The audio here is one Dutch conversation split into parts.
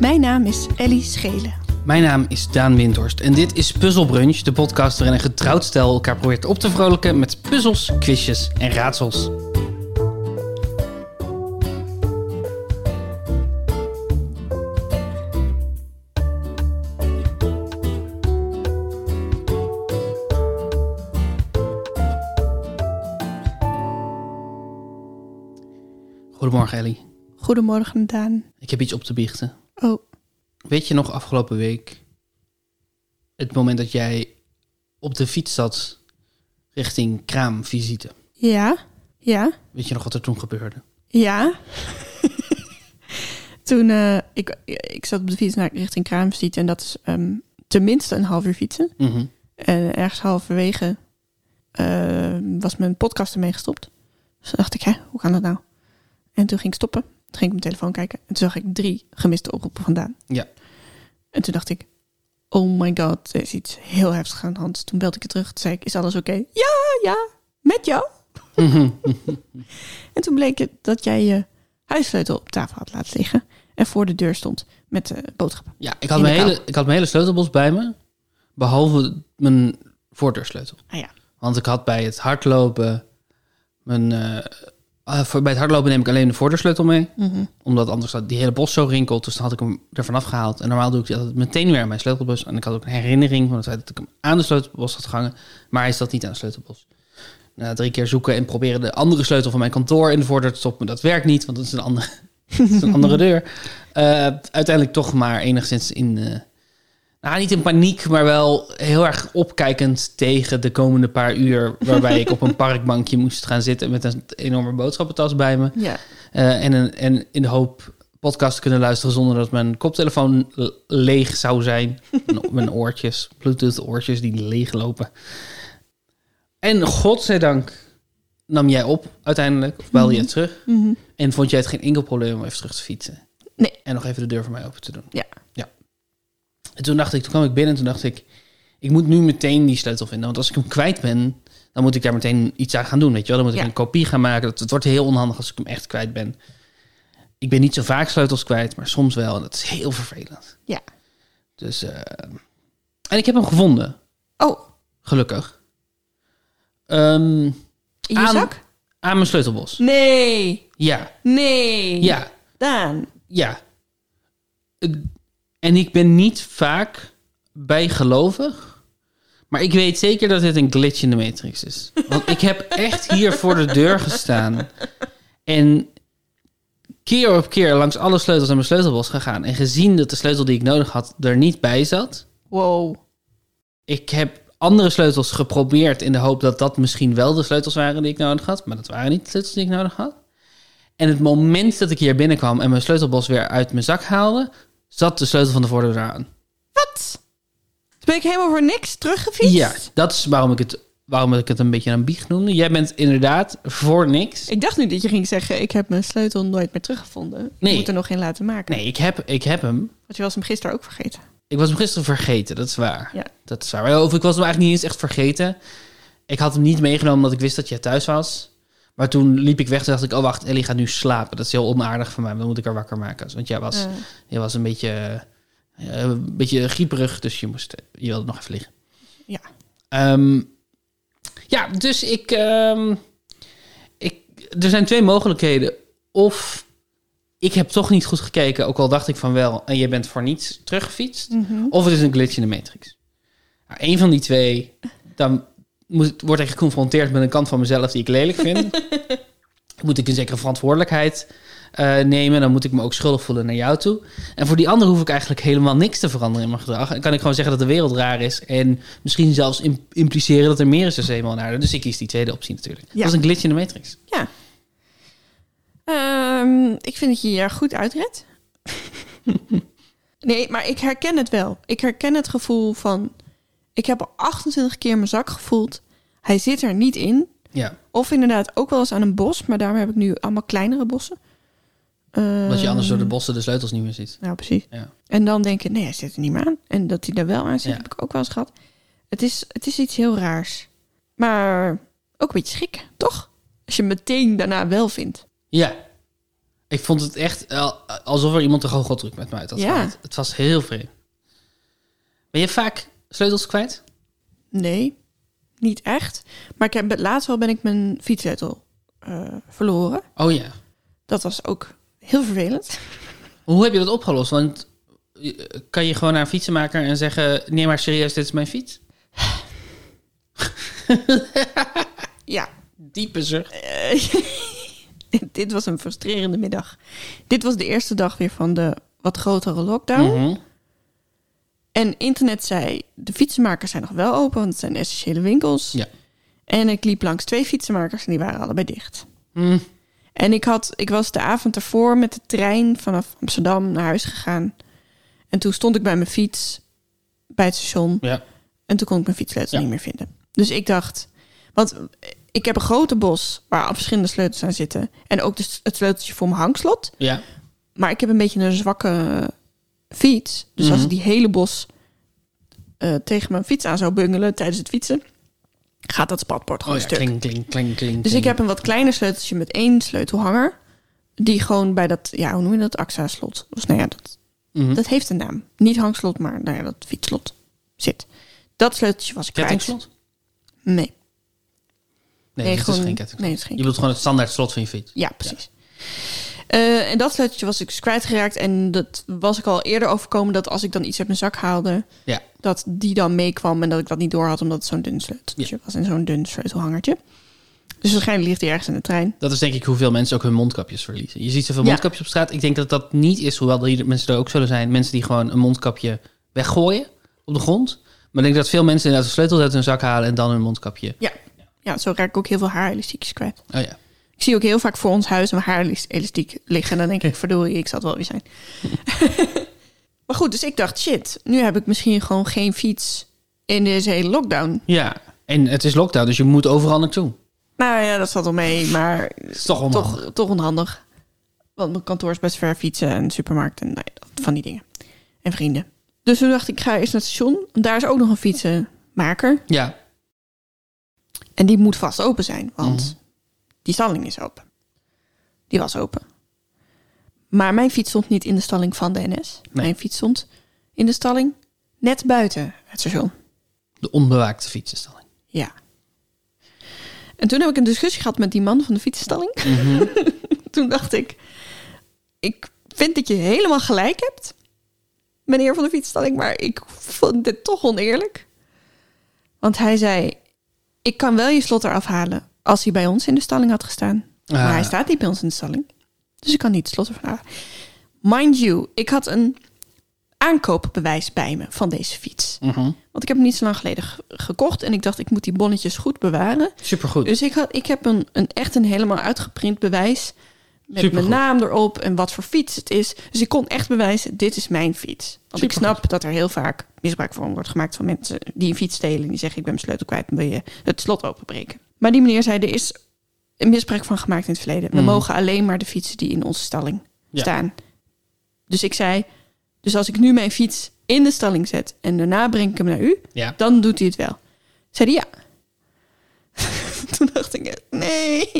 Mijn naam is Ellie Schelen. Mijn naam is Daan Windhorst en dit is Puzzle Brunch, de podcast waarin een getrouwd stel elkaar probeert op te vrolijken met puzzels, quizjes en raadsels. Goedemorgen Ellie, Goedemorgen, Daan. ik heb iets op te biechten. Oh, Weet je nog afgelopen week het moment dat jij op de fiets zat richting kraamvisite? ja, ja, Weet je nog wat er toen gebeurde? ja. Toen eh, ik, ik zat op de fiets naar richting Kraamstiet en dat is ehm, tenminste een half uur fietsen. En Eh, ergens halverwege eh, was mijn podcast ermee gestopt. Dus toen dacht ik, hè, hoe kan dat nou? En toen ging ik stoppen. Toen ging ik op mijn telefoon kijken. En toen zag ik drie gemiste oproepen vandaan. Ja. En toen dacht ik, oh my god, er is iets heel heftigs aan de hand. Dus Toen belde ik je terug. Toen zei ik, is alles oké? Ja, ja, met jou. en toen bleek het dat jij je huissleutel op tafel had laten liggen. En voor de deur stond met de boodschappen. Ja, ik had, In de mijn kou. hele, ik had mijn hele sleutelbos bij me, behalve mijn voordeursleutel. Ah ja, Want ik had bij het hardlopen, mijn, eh, ah, voor, bij het hardlopen neem ik alleen de voordeursleutel mee. Omdat anders dat die hele bos zo rinkelt, dus dan had ik hem ervan afgehaald. En normaal doe ik die altijd meteen weer aan mijn sleutelbos. En ik had ook een herinnering van het feit dat ik hem aan de sleutelbos had gehangen. Maar hij zat niet aan de sleutelbos. Na drie keer zoeken en proberen de andere sleutel van mijn kantoor in de voordeur te stoppen. Dat werkt niet, want dat is een andere, dat is een andere deur. Eh, uiteindelijk toch maar enigszins in... eh, nou, niet in paniek, maar wel heel erg opkijkend tegen de komende paar uur. Waarbij ik op een parkbankje moest gaan zitten met een enorme boodschappentas bij me. ja. Eh, en, een, en in de hoop podcast te kunnen luisteren zonder dat mijn koptelefoon le- leeg zou zijn. mijn, mijn oortjes, Bluetooth oortjes die leeg lopen. En godzijdank nam jij op uiteindelijk, of belde je terug. Mhm. En vond jij het geen enkel probleem om even terug te fietsen? Nee. En nog even de deur voor mij open te doen? Ja. Ja. En toen dacht ik, toen kwam ik binnen en toen dacht ik... Ik moet nu meteen die sleutel vinden. Want als ik hem kwijt ben, dan moet ik daar meteen iets aan gaan doen. Weet je wel? Dan moet ik Ja. een kopie gaan maken. Dat, het wordt heel onhandig als ik hem echt kwijt ben. Ik ben niet zo vaak sleutels kwijt, maar soms wel. En dat is heel vervelend. Ja. Dus, eh, en ik heb hem gevonden, Oh, gelukkig. Ehm, in je Aan- zak? aan mijn sleutelbos. Nee, Ja, nee. ja. Daan. Ja. Eh, En ik ben niet vaak bijgelovig. Maar ik weet zeker dat dit een glitch in de Matrix is. Want ik heb echt hier voor de deur gestaan. En keer op keer langs alle sleutels aan mijn sleutelbos gegaan. En gezien dat de sleutel die ik nodig had er niet bij zat. Wow. Ik heb andere sleutels geprobeerd in de hoop dat dat misschien wel de sleutels waren die ik nodig had. Maar dat waren niet de sleutels die ik nodig had. En het moment dat ik hier binnenkwam en mijn sleutelbos weer uit mijn zak haalde, zat de sleutel van de voordeur eraan. Wat? Dus Ben ik helemaal voor niks teruggefietst? Ja, dat is waarom ik het, waarom ik het een beetje een biecht noemde. Jij bent inderdaad voor niks. Ik dacht nu dat je ging zeggen, ik heb mijn sleutel nooit meer teruggevonden. Nee. Ik moet er nog geen laten maken. Nee, ik heb, ik heb hem. Want je was hem gisteren ook vergeten. Ik was hem gisteren vergeten, dat is waar. Ja. Dat is waar. Of ik was hem eigenlijk niet eens echt vergeten. Ik had hem niet meegenomen omdat ik wist dat jij thuis was. Maar toen liep ik weg en dacht ik, oh wacht, Ellie gaat nu slapen. Dat is heel onaardig van mij, want dan moet ik haar wakker maken. Want jij was, Eh, jij was een beetje, eh, een beetje grieperig, dus je, moest, je wilde nog even liggen. ja. Ehm, ja, dus ik, ehm, ik... Er zijn twee mogelijkheden. Of ik heb toch niet goed gekeken, ook al dacht ik van wel... en je bent voor niets teruggefietst. mhm. Of het is een glitch in de matrix. Nou, Eén van die twee, dan moet, word ik geconfronteerd met een kant van mezelf die ik lelijk vind. moet ik een zekere verantwoordelijkheid eh, nemen. Dan moet ik me ook schuldig voelen naar jou toe. En voor die andere hoef ik eigenlijk helemaal niks te veranderen in mijn gedrag. En kan ik gewoon zeggen dat de wereld raar is. En misschien zelfs im- impliceren dat er meer is dan eenmaal naar aarde. Dus ik kies die tweede optie natuurlijk. Ja. Dat is een glitch in de matrix. ja. Ehm, ik vind dat je je er goed uitredt. nee, maar ik herken het wel. Ik herken het gevoel van... Ik heb al 28 keer mijn zak gevoeld. Hij zit er niet in. Ja, Of inderdaad ook wel eens aan een bos. Maar daarom heb ik nu allemaal kleinere bossen. Eh, omdat je anders door de bossen de sleutels niet meer ziet. Nou, precies. Ja. En dan denken, nee, hij zit er niet meer aan. En dat hij er wel aan zit, Ja. heb ik ook wel eens gehad. Het is, het is iets heel raars. Maar ook een beetje schrik, toch? Als je hem meteen daarna wel vindt. ja. Ik vond het echt eh, alsof er iemand een goocheltruc met me uit had Ja. gehaald. Het was heel vreemd. Ben je vaak sleutels kwijt? Nee, niet echt. Maar ik heb, laatst wel ben ik mijn fietssleutel eh, verloren. Oh ja. Dat was ook heel vervelend. Hoe heb je dat opgelost? Want je- kan je gewoon naar een fietsenmaker en zeggen... neem maar serieus, dit is mijn fiets? Ja, Diepe zucht. dit- Eh, dit was een frustrerende middag. Dit was de eerste dag weer van de wat grotere lockdown. Mhm. En internet zei, de fietsenmakers zijn nog wel open, want het zijn essentiële winkels. Ja. En ik liep langs twee fietsenmakers en die waren allebei dicht. Hm. En ik, had, ik was de avond ervoor met de trein vanaf Amsterdam naar huis gegaan. En toen stond ik bij mijn fiets bij het station. Ja. En toen kon ik mijn fietssleutel Ja. niet meer vinden. Dus ik dacht, want ik heb een grote bos waar verschillende sleutels aan zitten. En ook dus het sleuteltje voor mijn hangslot. Ja. Maar ik heb een beetje een zwakke eh, fiets. Dus Mhm. als ik die hele bos eh, tegen mijn fiets aan zou bungelen tijdens het fietsen, gaat dat spatbord Oh gewoon ja, stuk. kling, kling, kling, kling. Dus ik kling. heb een wat kleiner sleuteltje met één sleutelhanger. Die gewoon bij dat, ja, hoe noem je dat? AXA-slot. Dus nou ja, dat, Mhm. dat heeft een naam. Niet hangslot, maar nou ja, dat fietsslot zit. Dat sleuteltje was ik kwijt. Kettingslot? Nee. Nee, Nee, dit gewoon- is geen kettingslot. nee, het is geen je wilt gewoon het standaard slot van je fiets. Ja, precies. Eh, en dat sleuteltje was ik dus kwijtgeraakt. En dat was ik al eerder overkomen dat als ik dan iets uit mijn zak haalde, Ja. dat die dan meekwam en dat ik dat niet door had omdat het zo'n dun sleuteltje was en zo'n dun sleutelhangertje. Dus waarschijnlijk ligt hij ergens in de trein. Dat is denk ik hoeveel mensen ook hun mondkapjes verliezen. Je ziet zoveel Ja. mondkapjes op straat. Ik denk dat dat niet is, hoewel die mensen er ook zullen zijn. Mensen die gewoon een mondkapje weggooien op de grond. Maar ik denk dat veel mensen inderdaad de sleutels uit hun zak halen en dan hun mondkapje. Ja. ja, zo raak ik ook heel veel haarelastiekjes kwijt. Oh ja. Ik zie ook heel vaak voor ons huis een haarelastiek liggen. En dan denk ik, verdorie, ik zal het wel weer zijn. maar goed, dus ik dacht, shit, nu heb ik misschien gewoon geen fiets in deze hele lockdown. Ja. En het is lockdown, dus je moet overal naartoe. Nou ja, dat zat al mee, maar Het is toch onhandig. toch, toch onhandig. Want mijn kantoor is best ver fietsen en supermarkt en nou ja, van die dingen. En vrienden. Dus toen dacht ik, ik ga eerst naar het station. Daar is ook nog een fietsenmaker. Ja. En die moet vast open zijn, want Mhm. die stalling is open. Die was open. Maar mijn fiets stond niet in de stalling van de NS. Mijn fiets stond in de stalling net buiten het station. De onbewaakte fietsenstalling. Ja. En toen heb ik een discussie gehad met die man van de fietsenstalling. Mhm. toen dacht ik, ik vind dat je helemaal gelijk hebt, meneer van de fietsstalling, maar ik vond dit toch oneerlijk. Want hij zei, ik kan wel je slot eraf halen als hij bij ons in de stalling had gestaan. Maar Ah. hij staat niet bij ons in de stalling. Dus ik kan niet het slot ervan halen. Mind you, ik had een aankoopbewijs bij me van deze fiets. Mhm. Want ik heb hem niet zo lang geleden ge- gekocht. En ik dacht, ik moet die bonnetjes goed bewaren. Supergoed. Dus ik, had, ik heb een, een echt een helemaal uitgeprint bewijs. Met Supergoed. mijn naam erop en wat voor fiets het is. Dus ik kon echt bewijzen, dit is mijn fiets. Want ik Supergoed. snap dat er heel vaak misbruik van wordt gemaakt van mensen die een fiets stelen. En die zeggen, ik ben mijn sleutel kwijt en wil je het slot openbreken. Maar die meneer zei, er is een misbruik van gemaakt in het verleden. We mogen alleen maar de fietsen die in onze stalling Hmm. Ja. staan. Dus ik zei, dus als ik nu mijn fiets in de stalling zet en daarna breng ik hem naar u, Ja. dan doet hij het wel. Zei hij ja. toen dacht ik, eh, nee.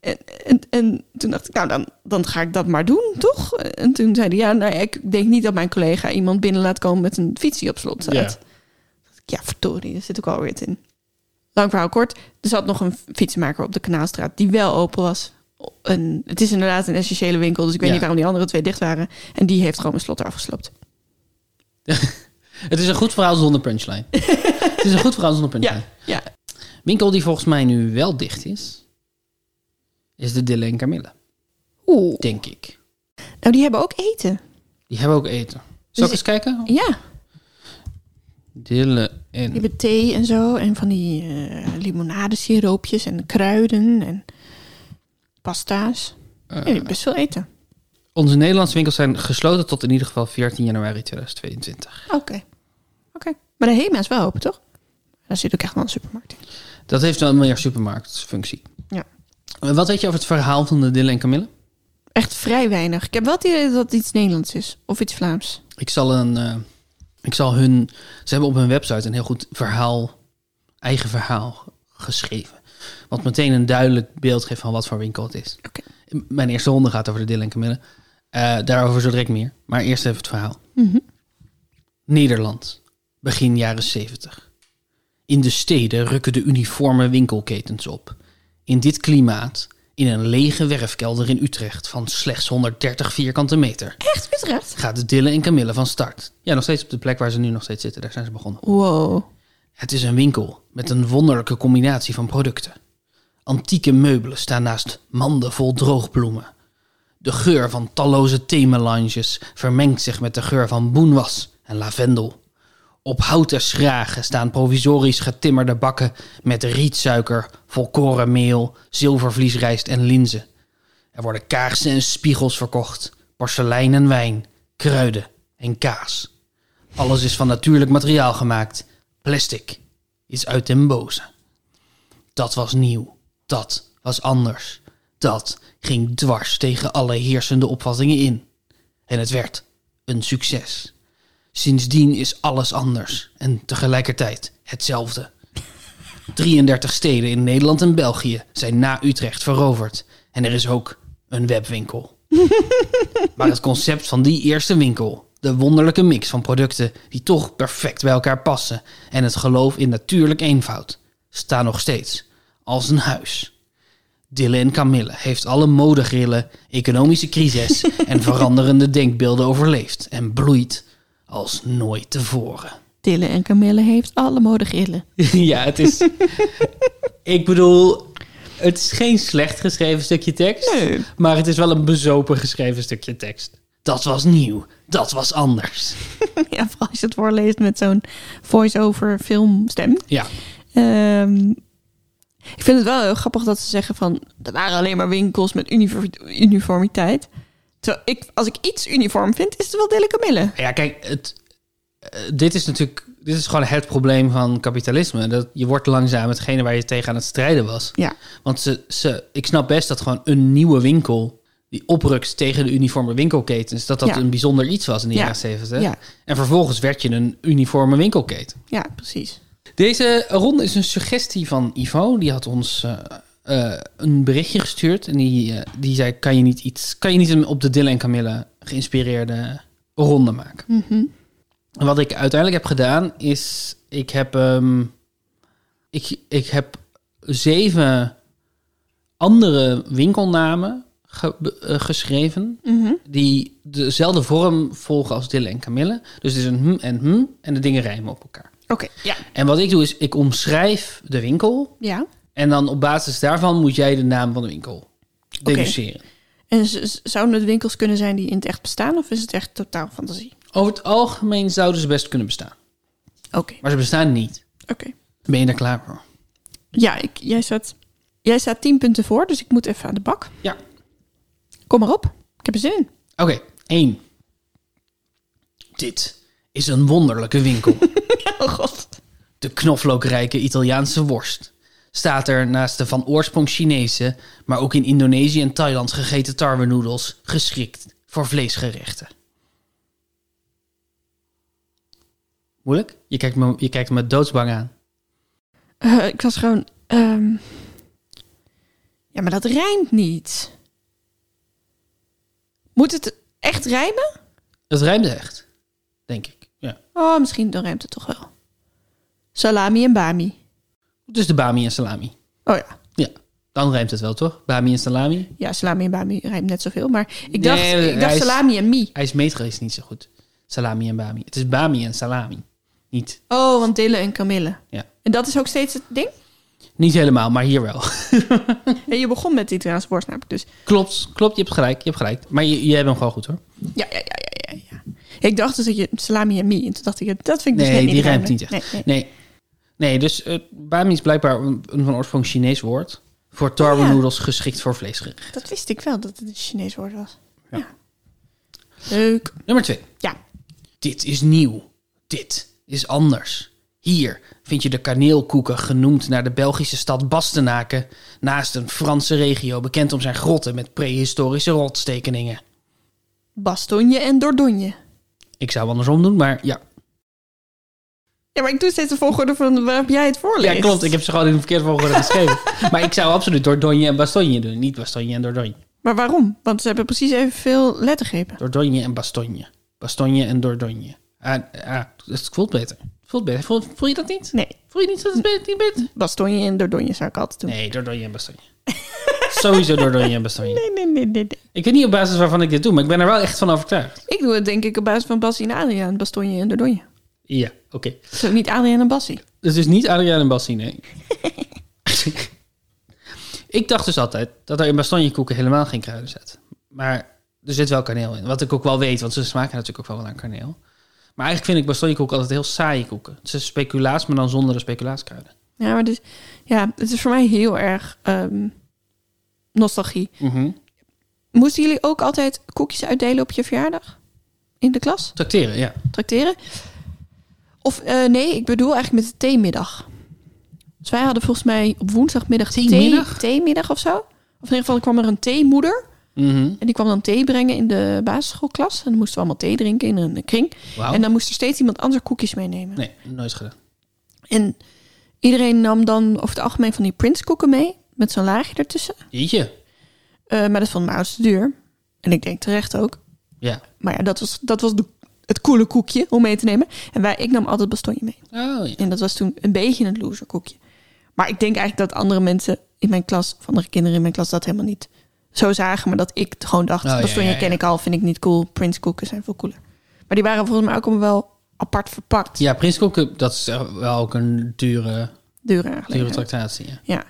en, en, en toen dacht ik, nou dan, dan ga ik dat maar doen, toch? En toen zei hij, ja, nou ja, ik denk niet dat mijn collega iemand binnen laat komen met een fiets die op slot staat. Ja. Dacht ik, Ja, verdorie, er zit ook alweer het in. Lang verhaal kort, er zat nog een fietsenmaker op de Kanaalstraat die wel open was. Een, het is inderdaad een essentiële winkel, dus ik weet Ja. niet waarom die andere twee dicht waren. En die heeft gewoon mijn slot eraf gesloopt. Het is een goed verhaal zonder punchline. het is een goed verhaal zonder punchline. Ja, ja. Winkel die volgens mij nu wel dicht is, is de Dille en Camille, Oeh. denk ik. Nou, die hebben ook eten. Die hebben ook eten. Zal ik Dus- eens kijken? Ja, Dille en... die hebben thee en zo. En van die eh limonadesiroopjes en kruiden en pasta's. eh, Ja, die hebben best veel eten. onze Nederlandse winkels zijn gesloten tot in ieder geval 14 januari 2022. Oké. Ah, Oké. Maar de Hema is wel open, toch? Daar zit ook echt wel een supermarkt in. Dat heeft wel meer supermarktfunctie. Ja. Eh, Wat weet je over het verhaal van de Dille en Camille? Echt vrij weinig. Ik heb wel het idee dat het iets Nederlands is. Of iets Vlaams. Ik zal een... eh, ik zal hun... Ze hebben op hun website een heel goed verhaal... Eigen verhaal geschreven. Wat meteen een duidelijk beeld geeft van wat voor winkel het is. Oké. Ik Mijn eerste ronde gaat over de Dylan en Camille. Eh, daarover zo direct meer. Maar eerst even het verhaal. Mhm. Nederland, begin jaren 70. In de steden rukken de uniforme winkelketens op. In dit klimaat, in een lege werfkelder in Utrecht van slechts 130 vierkante meter, Echt Utrecht? gaat de Dille en Camille van start. Ja, nog steeds op de plek waar ze nu nog steeds zitten, daar zijn ze begonnen. Wow. Het is een winkel met een wonderlijke combinatie van producten. Antieke meubelen staan naast manden vol droogbloemen. De geur van talloze themelanges vermengt zich met de geur van boenwas en lavendel. Op houten schragen staan provisorisch getimmerde bakken met rietsuiker, volkoren meel, zilvervliesrijst en linzen. Er worden kaarsen en spiegels verkocht, porselein en wijn, kruiden en kaas. Alles is van natuurlijk materiaal gemaakt. Plastic is uit den boze. Dat was nieuw. Dat was anders. Dat ging dwars tegen alle heersende opvattingen in. En het werd een succes. Sindsdien is alles anders en tegelijkertijd hetzelfde. 33 steden in Nederland en België zijn na Utrecht veroverd. En er is ook een webwinkel. Maar het concept van die eerste winkel, de wonderlijke mix van producten die toch perfect bij elkaar passen en het geloof in natuurlijk eenvoud, staan nog steeds als een huis. Dille en Camille heeft alle modegrillen, economische crisis en veranderende denkbeelden overleefd en bloeit als nooit tevoren. Tille en Camille heeft alle modegrillen. Ja, het is. ik bedoel, het is geen slecht geschreven stukje tekst. Nee. Maar het is wel een bezopen geschreven stukje tekst. Dat was nieuw. Dat was anders. ja, vooral als je het voorleest met zo'n voice-over filmstem. Ja. Ehm, ik vind het wel heel grappig dat ze zeggen van... er waren alleen maar winkels met univer- uniformiteit. Terwijl ik, als ik iets uniform vind, is het wel Dille Camille. Ja, kijk, het, eh, dit is natuurlijk. Dit is gewoon het probleem van kapitalisme. Dat je wordt langzaam hetgene waar je tegen aan het strijden was. Ja. Want ze, ze, ik snap best dat gewoon een nieuwe winkel. die oprukt tegen de uniforme winkelketens. dat dat Ja. een bijzonder iets was in de Ja. jaren 70. Ja. En vervolgens werd je een uniforme winkelketen. Ja, precies. Deze ronde is een suggestie van Ivo. Die had ons eh, eh, een berichtje gestuurd. En die, eh, die zei, kan je niet, iets, kan je niet een op de Dylan en Camille geïnspireerde ronde maken? En wat ik uiteindelijk heb gedaan, is ik heb, ehm, ik, ik heb zeven andere winkelnamen ge- be- eh, geschreven Mhm. die dezelfde vorm volgen als Dille en Camille. Dus het is een hm en hm en de dingen rijmen op elkaar. Oké, ja. En wat ik doe is, ik omschrijf de winkel. ja. En dan op basis daarvan moet jij de naam van de winkel deduceren. En z- z- zouden het winkels kunnen zijn die in het echt bestaan? Of is het echt totaal fantasie? Over het algemeen zouden ze best kunnen bestaan. Oké, Maar ze bestaan niet. oké. Ben je daar klaar voor? Ja, ik, jij, staat, jij staat tien punten voor, dus ik moet even aan de bak. Ja. Kom maar op. Ik heb er zin in. Oké, één. Dit is een wonderlijke winkel. Oh god. de knoflookrijke Italiaanse worst. Staat er naast de van oorsprong Chinese, maar ook in Indonesië en Thailand gegeten tarwenoedels geschikt voor vleesgerechten. Moeilijk? Je kijkt me, je kijkt me doodsbang aan. Eh, ik was gewoon... ehm, Ja, maar dat rijmt niet. Moet het echt rijmen? Het rijmde echt, denk ik. Ja. Oh, misschien dan rijmt het toch wel. Salami en bami. Het is Dus de bami en salami. Oh ja. Ja, dan rijmt het wel toch? Bami en salami. Ja, salami en bami rijmt net zoveel. Maar ik dacht, Nee, ik dacht hij is- salami en mi. IJsmetra is niet zo goed. Salami en bami. Het is bami en salami. Niet, Oh, want Dille en Camille. ja. En dat is ook steeds het ding? niet helemaal, maar hier wel. En je begon met de Italiaanse worst namelijk, dus... Klopt, klopt. Je hebt gelijk, je hebt gelijk. Maar je, je hebt hem gewoon goed hoor. Ja, ja, ja, ja, ja, ja. Ik dacht dus dat je salami en mi. En toen dacht ik, dat vind ik dus Nee, net die rijmt rijmen. niet echt. Nee, nee. Nee, nee dus eh, bami is blijkbaar een een van oorsprong Chinees woord. Voor tarwe noedels geschikt voor vleesgerecht. Dat wist ik wel, dat het een Chinees woord was. Ja. Leuk. Nummer twee. Ja. Dit is nieuw. Dit is anders. Hier vind je de kaneelkoeken genoemd naar de Belgische stad Bastenaken, naast een Franse regio bekend om zijn grotten met prehistorische rotstekeningen. Bastonje en Dordogne. Ik zou hem andersom doen, maar ja. Ja, maar ik doe steeds de volgorde van waarop jij het voorleest. Ja, klopt. Ik heb ze gewoon in de verkeerde volgorde geschreven. maar ik zou absoluut Dordogne en Bastogne doen, niet Bastogne en Dordogne. Maar waarom? Want ze hebben precies evenveel lettergrepen. Dordogne en Bastogne. Bastogne en Dordogne. Ah, ah, het voelt beter. Het voelt beter. Voel, voel je dat niet? Nee, Voel je niet dat het beter niet beter? Bastogne en Dordogne zou ik altijd doen. Nee, Dordogne en Bastogne. Sowieso Dordogne en Bastogne. Nee, nee, nee, nee, nee. Ik weet niet op basis waarvan ik dit doe, maar ik ben er wel echt van overtuigd. Ik doe het denk ik op basis van Bassie en Adriaan, Bastogne en Dordogne. Ja, oké. Zo, niet Adriaan en Bassie. Dus dus niet Adriaan en Bassie, nee. ik dacht dus altijd dat er in bastonjekoeken helemaal geen kruiden zit. Maar er zit wel kaneel in. Wat ik ook wel weet, want ze smaken natuurlijk ook wel naar kaneel. Maar eigenlijk vind ik bastonjekoeken altijd heel saaie koeken. Het is speculaas, maar dan zonder de speculaaskruiden. Ja, maar dus, ja, het is voor mij heel erg ehm, nostalgie. Mhm. Moesten jullie ook altijd koekjes uitdelen op je verjaardag? In de klas? Tracteren, ja. Tracteren? Of eh, nee, ik bedoel eigenlijk met de theemiddag. Dus wij hadden volgens mij op woensdagmiddag thee- Theemiddag? theemiddag of zo. Of in ieder geval kwam er een theemoeder. Mhm. En die kwam dan thee brengen in de basisschoolklas. En dan moesten we allemaal thee drinken in een kring. Wauw. En dan moest er steeds iemand anders koekjes meenemen. Nee, nooit gedaan. En iedereen nam dan over het algemeen van die prinskoeken mee. Met zo'n laagje ertussen. Jeetje. Eh, maar dat vond mijn oudste duur. En ik denk terecht ook. Ja. Maar ja, dat was, dat was de, het coole koekje om mee te nemen. En wij, ik nam altijd bastonje mee. Oh, ja. En dat was toen een beetje een loser koekje. Maar ik denk eigenlijk dat andere mensen in mijn klas, of andere kinderen in mijn klas, dat helemaal niet zo zagen. Maar dat ik t- gewoon dacht, Oh, ja, bastonje ja, ja. ken ik al, vind ik niet cool. Prince koeken zijn veel cooler. Maar die waren volgens mij ook allemaal wel apart verpakt. ja prinskoeken, dat is eh, wel ook een dure, Dure eigenlijk. dure tractatie. Ja. Ja.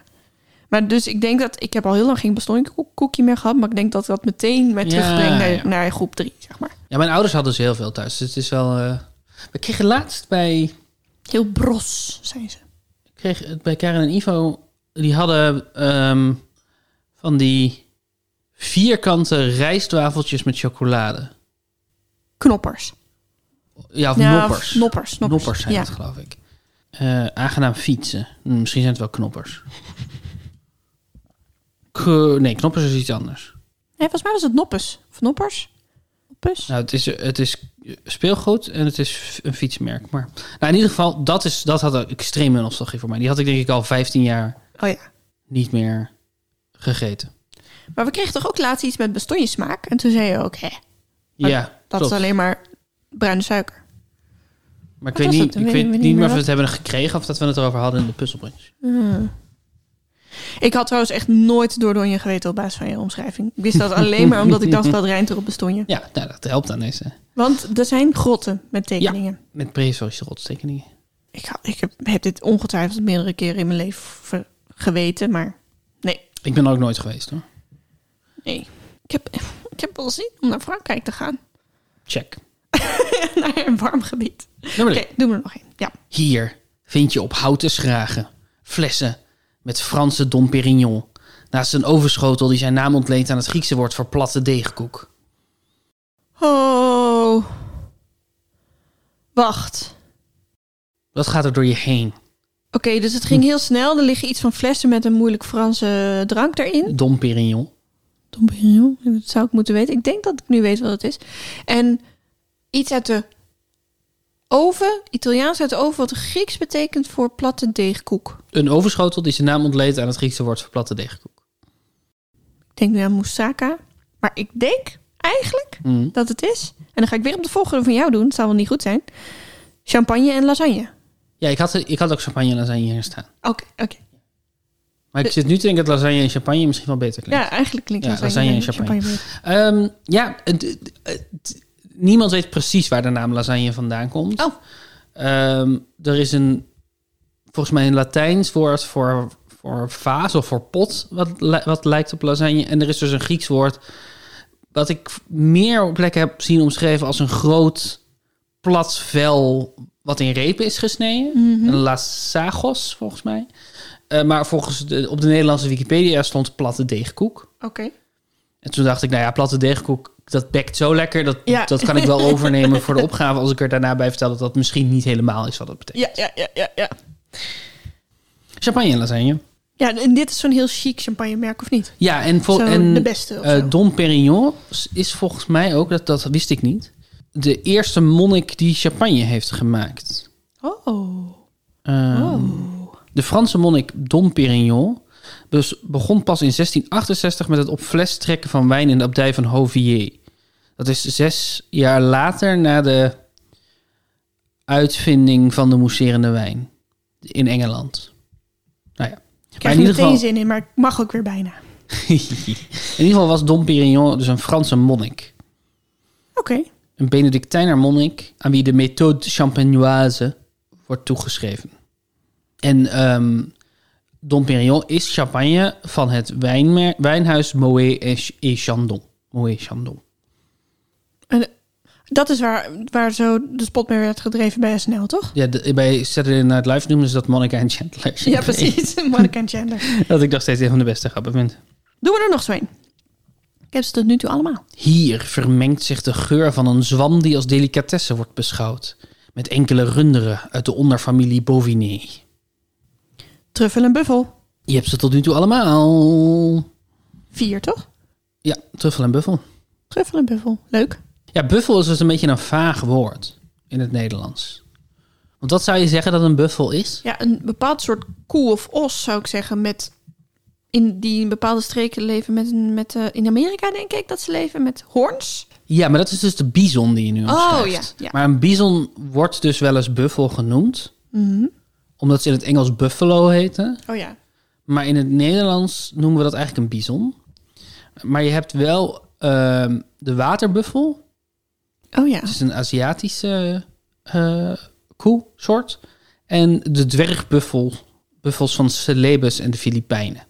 Maar dus ik denk dat ik heb al heel lang geen bastonjekoekje meer gehad, maar ik denk dat dat meteen mij Ja, terugbrengt naar, ja. naar groep 3, zeg maar. ja, mijn ouders hadden ze heel veel thuis. Dus het is wel... eh, We kregen laatst bij... Heel bros zijn ze. kreeg het bij Karen en Ivo. Die hadden ehm, van die vierkante rijstwafeltjes met chocolade. Knoppers. Ja, of Ja, noppers. of Noppers. Noppers, Noppers zijn ja. het, geloof ik. Eh, aangenaam fietsen. Hm, misschien zijn het wel knoppers. K- nee, knoppers is iets anders. Nee, volgens mij was het noppes. Of noppers? Noppes? Nou, het is, het is speelgoed en het is f- een fietsmerk. Maar nou, in ieder geval, dat, is, dat had een extreme nostalgie voor mij. Die had ik denk ik al 15 jaar Oh ja. Oh niet meer gegeten. Maar we kregen toch ook laatst iets met bestonjesmaak? En toen zei je ook, hè, Maar ja, dat klopt. is alleen maar bruine suiker. Maar ik Wat weet, was niet, het? ik Weet weet ik niet niet meer meer of we wat- het hebben gekregen of dat we het erover hadden in de puzzelbrunch. Ik had trouwens echt nooit Dordogne geweten op basis van je omschrijving. Ik wist dat alleen maar omdat ik dacht dat rijmt er op bestonje. Ja, nou, dat helpt aan deze. Want er zijn grotten met tekeningen. Met prehistorische rotstekeningen. Ik, ha- ik heb, heb dit ongetwijfeld meerdere keren in mijn leven ver- geweten, maar nee, Ik ben er ook nooit geweest hoor. nee. Ik heb, ik heb wel zin om naar Frankrijk te gaan. Check. naar een warm gebied. Nummer Oké, drie. doen we er nog één. Ja. Hier vind je op houten schragen flessen met Franse Dom Pérignon. Naast een overschotel die zijn naam ontleent aan het Griekse woord voor platte deegkoek. Oh. Wacht. Wat gaat er door je heen? Oké, dus het ging heel snel. Er liggen iets van flessen met een moeilijk Franse drank erin. Dom Pérignon. Dom Pérignon, dat zou ik moeten weten. Ik denk dat ik nu weet wat het is. En iets uit de oven, Italiaans uit de oven, wat Grieks betekent voor platte deegkoek. Een overschotel die zijn naam ontleent aan het Griekse woord voor platte deegkoek. Ik denk nu aan moussaka. Maar ik denk eigenlijk Mm. dat het is. En dan ga ik weer op de volgende van jou doen. Het zal wel niet goed zijn. Champagne en lasagne. Ja, ik had, ik had ook champagne en lasagne hier staan. Oké, oké. Maar ik zit nu te denken dat lasagne en champagne misschien wel beter klinkt. Ja, eigenlijk klinkt Ja, lasagne, lasagne en beter. Ehm, ja, het- het- het- niemand weet precies waar de naam lasagne vandaan komt. Oh. Ehm, er is een, volgens mij een Latijns woord voor, voor vaas of voor pot, wat, li- wat lijkt op lasagne. En er is dus een Grieks woord, wat ik meer op plekken heb zien omschreven als een groot plat vel wat in repen is gesneden. Een lasagos, volgens mij. Eh, maar volgens de, op de Nederlandse Wikipedia stond platte deegkoek. Oké. En toen dacht ik, nou ja, platte deegkoek, dat bekt zo lekker. Dat, Ja. dat kan ik wel overnemen voor de opgave als ik er daarna bij vertel dat dat misschien niet helemaal is wat het betekent. Ja, ja, ja, ja, ja. Champagne en lasagne. Ja, en dit is zo'n heel chic champagnemerk, of niet? Ja, en, vol- Zo en de beste of eh, zo. Dom Perignon is volgens mij ook, dat, dat wist ik niet, de eerste monnik die champagne heeft gemaakt. Oh. Ehm, Oh. De Franse monnik Dom Perignon Dus begon pas in 1668 met het op fles trekken van wijn in de abdij van Hoviers. Dat is zes jaar later na de uitvinding van de mousserende wijn in Engeland. Nou ja. Ik Maar krijg in er ieder meteen geval, zin in, maar ik mag ook weer bijna. in ieder geval was Dom Pérignon dus een Franse monnik. Oké. Een Benedictijner monnik aan wie de methode champenoise wordt toegeschreven. En ehm Dom Pérignon is champagne van het wijnmer- wijnhuis Moët et- et Chandon. Moët Chandon. Dat is waar, waar zo de spot mee werd gedreven bij SNL, toch? Ja, de- bij Saturday Night Live noemen ze dat Monica en Chandler. Ja, precies. Monica en Chandler. Dat ik nog steeds een van de beste grappen vind. Doen we er nog zo een. Ik heb ze tot nu toe allemaal. Hier vermengt zich de geur van een zwam die als delicatesse wordt beschouwd. Met enkele runderen uit de onderfamilie Bovinae. Truffel en buffel. Je hebt ze tot nu toe allemaal. Vier, toch? Ja, truffel en buffel. Truffel en buffel. Leuk. Ja, buffel is dus een beetje een vaag woord in het Nederlands. Want wat zou je zeggen dat een buffel is? Ja, een bepaald soort koe of os, zou ik zeggen, met... In die in bepaalde streken leven met, een- met eh, in Amerika denk ik dat ze leven met hoorns. Ja, maar dat is dus de bison die je nu omschrijft. ja, ja. Maar een bison wordt dus wel eens buffel genoemd. Mhm. Omdat ze in het Engels buffalo heten. Oh ja. Maar in het Nederlands noemen we dat eigenlijk een bison. Maar je hebt wel ehm, de waterbuffel. Oh ja. Dat is een Aziatische eh koe-soort. En de dwergbuffel. Buffels van Celebes en de Filipijnen.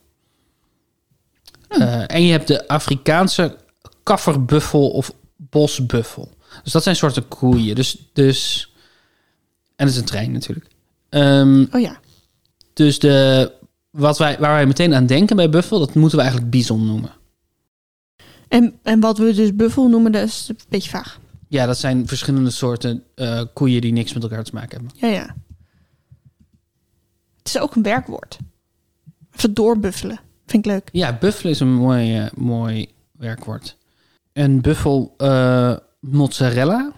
Eh, en je hebt de Afrikaanse kafferbuffel of bosbuffel. Dus dat zijn soorten koeien. Dus, dus, en het is een trein natuurlijk. Ehm, Oh ja. dus de, wat wij, waar wij meteen aan denken bij buffel, dat moeten we eigenlijk bison noemen. En, en wat we dus buffel noemen, dat is een beetje vaag. Ja, dat zijn verschillende soorten eh, koeien die niks met elkaar te maken Ja, hebben. ja. Het is ook een werkwoord. Even doorbuffelen. Vind ik leuk. Ja, buffel is een mooi, eh, mooi werkwoord. Een buffel eh, mozzarella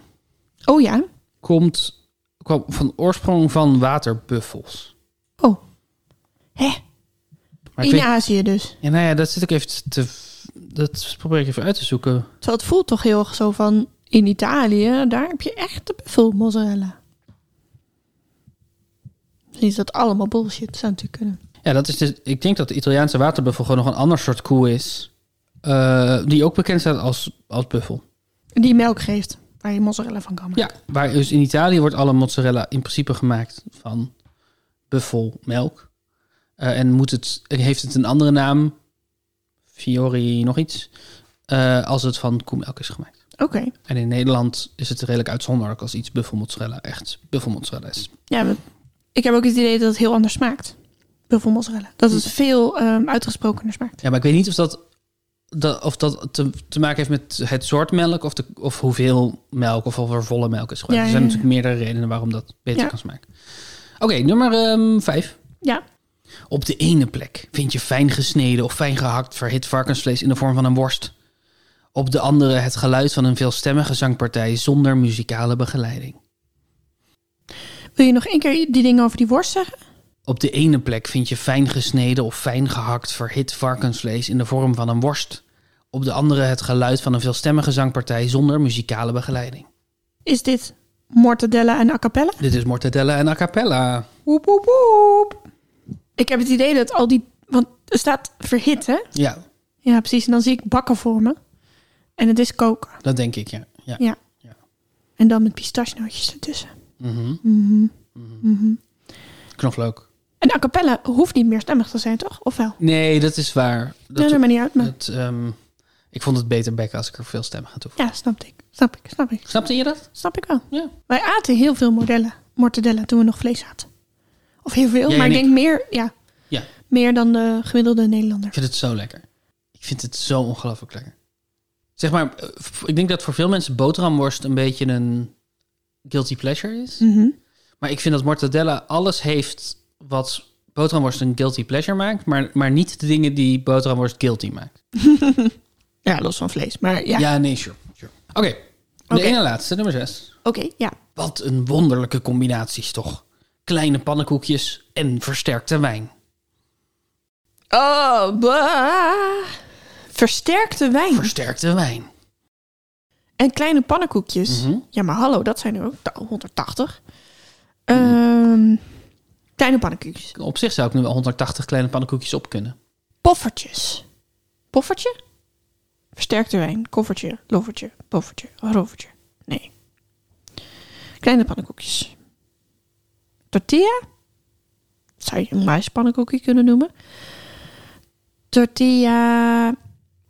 Oh ja. komt, kwam van oorsprong van waterbuffels. Oh. Hè? Maar ik In weet- Azië dus. ja, nou ja, dat zit ook even te... Dat probeer ik even uit te zoeken. Terwijl het voelt toch heel erg zo van... In Italië, daar heb je echt de buffel mozzarella. Misschien is dat allemaal bullshit. Zou natuurlijk kunnen. Ja, dat is dus, ik denk dat de Italiaanse waterbuffel gewoon nog een ander soort koe is. eh, die ook bekend staat als, als buffel. Die melk geeft. Waar je mozzarella van kan maken. Ja, waar dus in Italië wordt alle mozzarella in principe gemaakt van buffelmelk. Eh, en moet het, heeft het een andere naam, Fiori nog iets, eh, als het van koemelk is gemaakt. Oké. En in Nederland is het redelijk uitzonderlijk als iets buffelmozzarella echt buffelmozzarella is. Ja, maar ik heb ook het idee dat het heel anders smaakt. Buffel mozzarella. Dat het veel ehm, uitgesprokener smaakt. Ja, maar ik weet niet of dat, dat, of dat te, te maken heeft met het soort melk of, de, of hoeveel melk of of er volle melk is gebruikt. Ja, er zijn ja, ja. natuurlijk meerdere redenen waarom dat beter Ja. kan smaken. Oké, nummer ehm, vijf. Ja. Op de ene plek vind je fijn gesneden of fijn gehakt verhit varkensvlees in de vorm van een worst. Op de andere het geluid van een veelstemmige zangpartij zonder muzikale begeleiding. Wil je nog één keer die dingen over die worst zeggen? Op de ene plek vind je fijn gesneden of fijn gehakt verhit varkensvlees in de vorm van een worst. Op de andere het geluid van een veelstemmige zangpartij zonder muzikale begeleiding. Is dit mortadella en a cappella? Dit is mortadella en a cappella. Woep, woep, woep. Ik heb het idee dat al die... Want er staat verhit, hè? Ja, Ja, precies. En dan zie ik bakken voor me. En het is koken. dat denk ik, ja. ja. Ja. Ja. En dan met pistachenootjes ertussen. Mhm. Mhm. Mhm. Knoflook. En a cappella hoeft niet meer stemmig te zijn, toch? Of wel? Nee, dat is waar. Dat, nee, dat maakt niet uit. Maar... dat, ehm, ik vond het beter bekken als ik er veel stemmen aan toevoeg. Ja, snapte ik. Snap ik, snap ik. Snapte je dat? Snap ik wel. Ja. Wij aten heel veel modellen, mortadella toen we nog vlees aten. Of heel veel, Jij maar en ik ik. denk meer, ja, Ja. meer dan de gemiddelde Nederlander. Ik vind het zo lekker. Ik vind het zo ongelooflijk lekker. Zeg maar, eh, f- ik denk dat voor veel mensen boterhamworst een beetje een guilty pleasure is. Mhm. Maar ik vind dat mortadella alles heeft wat boterhamworst een guilty pleasure maakt, maar, maar niet de dingen die boterhamworst guilty maakt. Ja, los van vlees. Maar ja, Ja, nee, sure. sure. Oké, de Oké. ene laatste, nummer zes. oké, ja. Wat een wonderlijke combinaties toch. Kleine pannenkoekjes en versterkte wijn. Oh, bah. Versterkte wijn. Versterkte wijn. en kleine pannenkoekjes. Mhm. Ja, maar hallo, dat zijn er ook ta- 180. Mhm. Ehm, kleine pannenkoekjes. Op zich zou ik nu wel 180 kleine pannenkoekjes op kunnen. Poffertjes. Poffertje? Versterkte wijn. Koffertje. Loffertje. Poffertje. Rovertje. Nee. Kleine pannenkoekjes. Tortilla? Zou je een maispannenkoekje kunnen noemen? Tortilla.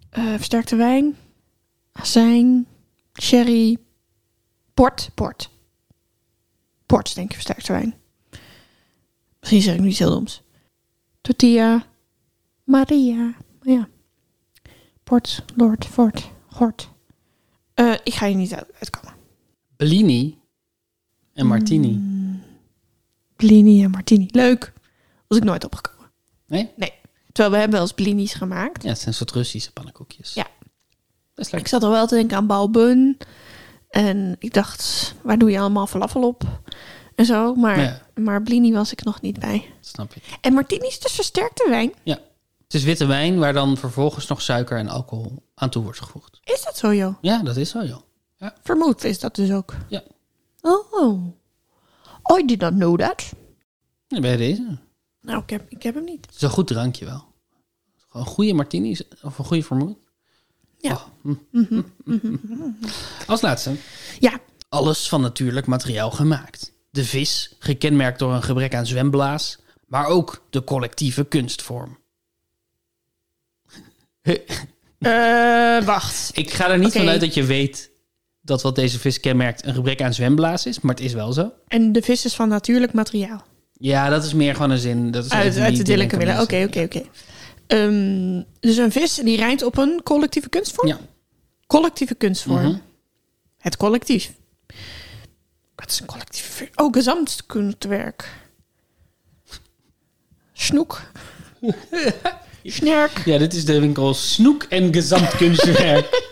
eh, versterkte wijn. Azijn. Sherry. Port. Port. Port, denk ik, versterkte wijn. Misschien zeg ik nu iets heel doms. Tortilla. Maria. Ja. Port, Lord, Fort, Gort. Eh, ik ga je niet uit, uitkomen. Bellini en Martini. Mm. Blini en Martini. Leuk. Was ik nooit opgekomen. Nee? Nee. Terwijl we hebben wel eens blinis gemaakt. Ja, het zijn soort Russische pannenkoekjes. Ja. Dat is Ik lekker. zat al wel te denken aan Balbun. En ik dacht, waar doe je allemaal falafel op? En zo. Maar, Ja. maar blini was ik nog niet bij. Dat snap ik. En Martini is dus versterkte wijn. Ja. Het is witte wijn waar dan vervolgens nog suiker en alcohol aan toe wordt gevoegd. Is dat zo, joh? Ja, dat is zo, joh. Vermoed is dat dus ook. Ja. Oh. Oh, I did not know that. Ja, Bij deze. Nou, ik heb, ik heb hem niet. Het is een goed drankje wel. Gewoon een goede martini is- of een goede vermoed. Ja. Oh, hm. Als laatste. Ja, Alles van natuurlijk materiaal gemaakt. De vis, gekenmerkt door een gebrek aan zwemblaas, maar ook de collectieve kunstvorm. Eh, wacht. Ik ga er niet Oké. vanuit dat je weet dat wat deze vis kenmerkt een gebrek aan zwemblaas is, maar het is wel zo. En de vis is van natuurlijk materiaal. Ja, dat is meer gewoon een zin. Dat is Uit, even uit niet de Dilleke denken Miller. Oké, mensen. oké, oké. Ehm, Dus een vis die rijdt op een collectieve kunstvorm? Ja. Collectieve kunstvorm. Mhm. Het collectief. Wat is een collectieve... Oh, gezamtkunstwerk. Snoek. Snerk. ja, dit is de winkel Snoek en Gezamtkunstwerk.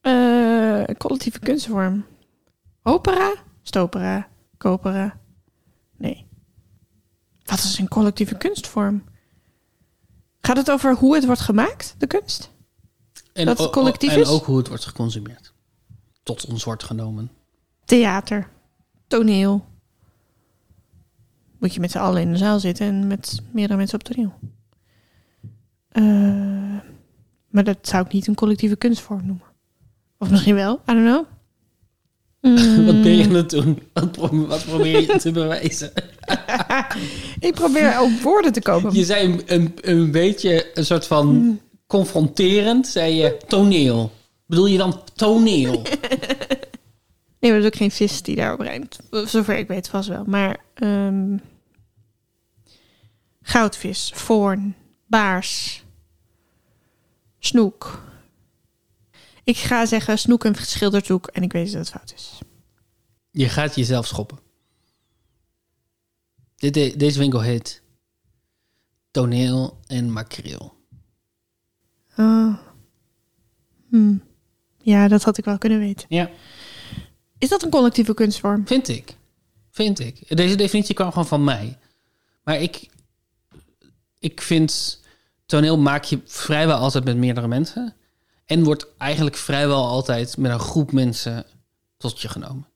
Eh, collectieve kunstvorm. Opera? Stopera? Kopera? Nee. Wat is een collectieve kunstvorm? Gaat het over hoe het wordt gemaakt, de kunst? en, Dat het o- o- collectief en is? ook hoe het wordt geconsumeerd. Tot ons wordt genomen. Theater, toneel. Moet je met z'n allen in de zaal zitten en met meerdere mensen op toneel. Eh, maar dat zou ik niet een collectieve kunstvorm noemen. Of misschien wel, I don't know. Wat ben je Mm. aan het doen? Wat, pro- wat probeer je te bewijzen? Ik probeer op Hmm. woorden te komen. Je zei een, een, een beetje een soort van confronterend, zei je toneel. Bedoel je dan toneel? Nee, maar er is ook geen vis die daarop rijmt. Zover ik weet vast wel. Maar ehm, goudvis, voorn, baars, snoek. Ik ga zeggen snoek en schilderzoek en ik weet dat het fout is. Je gaat jezelf schoppen. Dit, de- deze winkel heet Toneel en Makreel. Ah. Hm. Ja, dat had ik wel kunnen weten. Ja. Is dat een collectieve kunstvorm? Vind ik. Vind ik. Deze definitie kwam gewoon van mij. Maar ik, ik vind toneel maak je vrijwel altijd met meerdere mensen. En wordt eigenlijk vrijwel altijd met een groep mensen tot je genomen.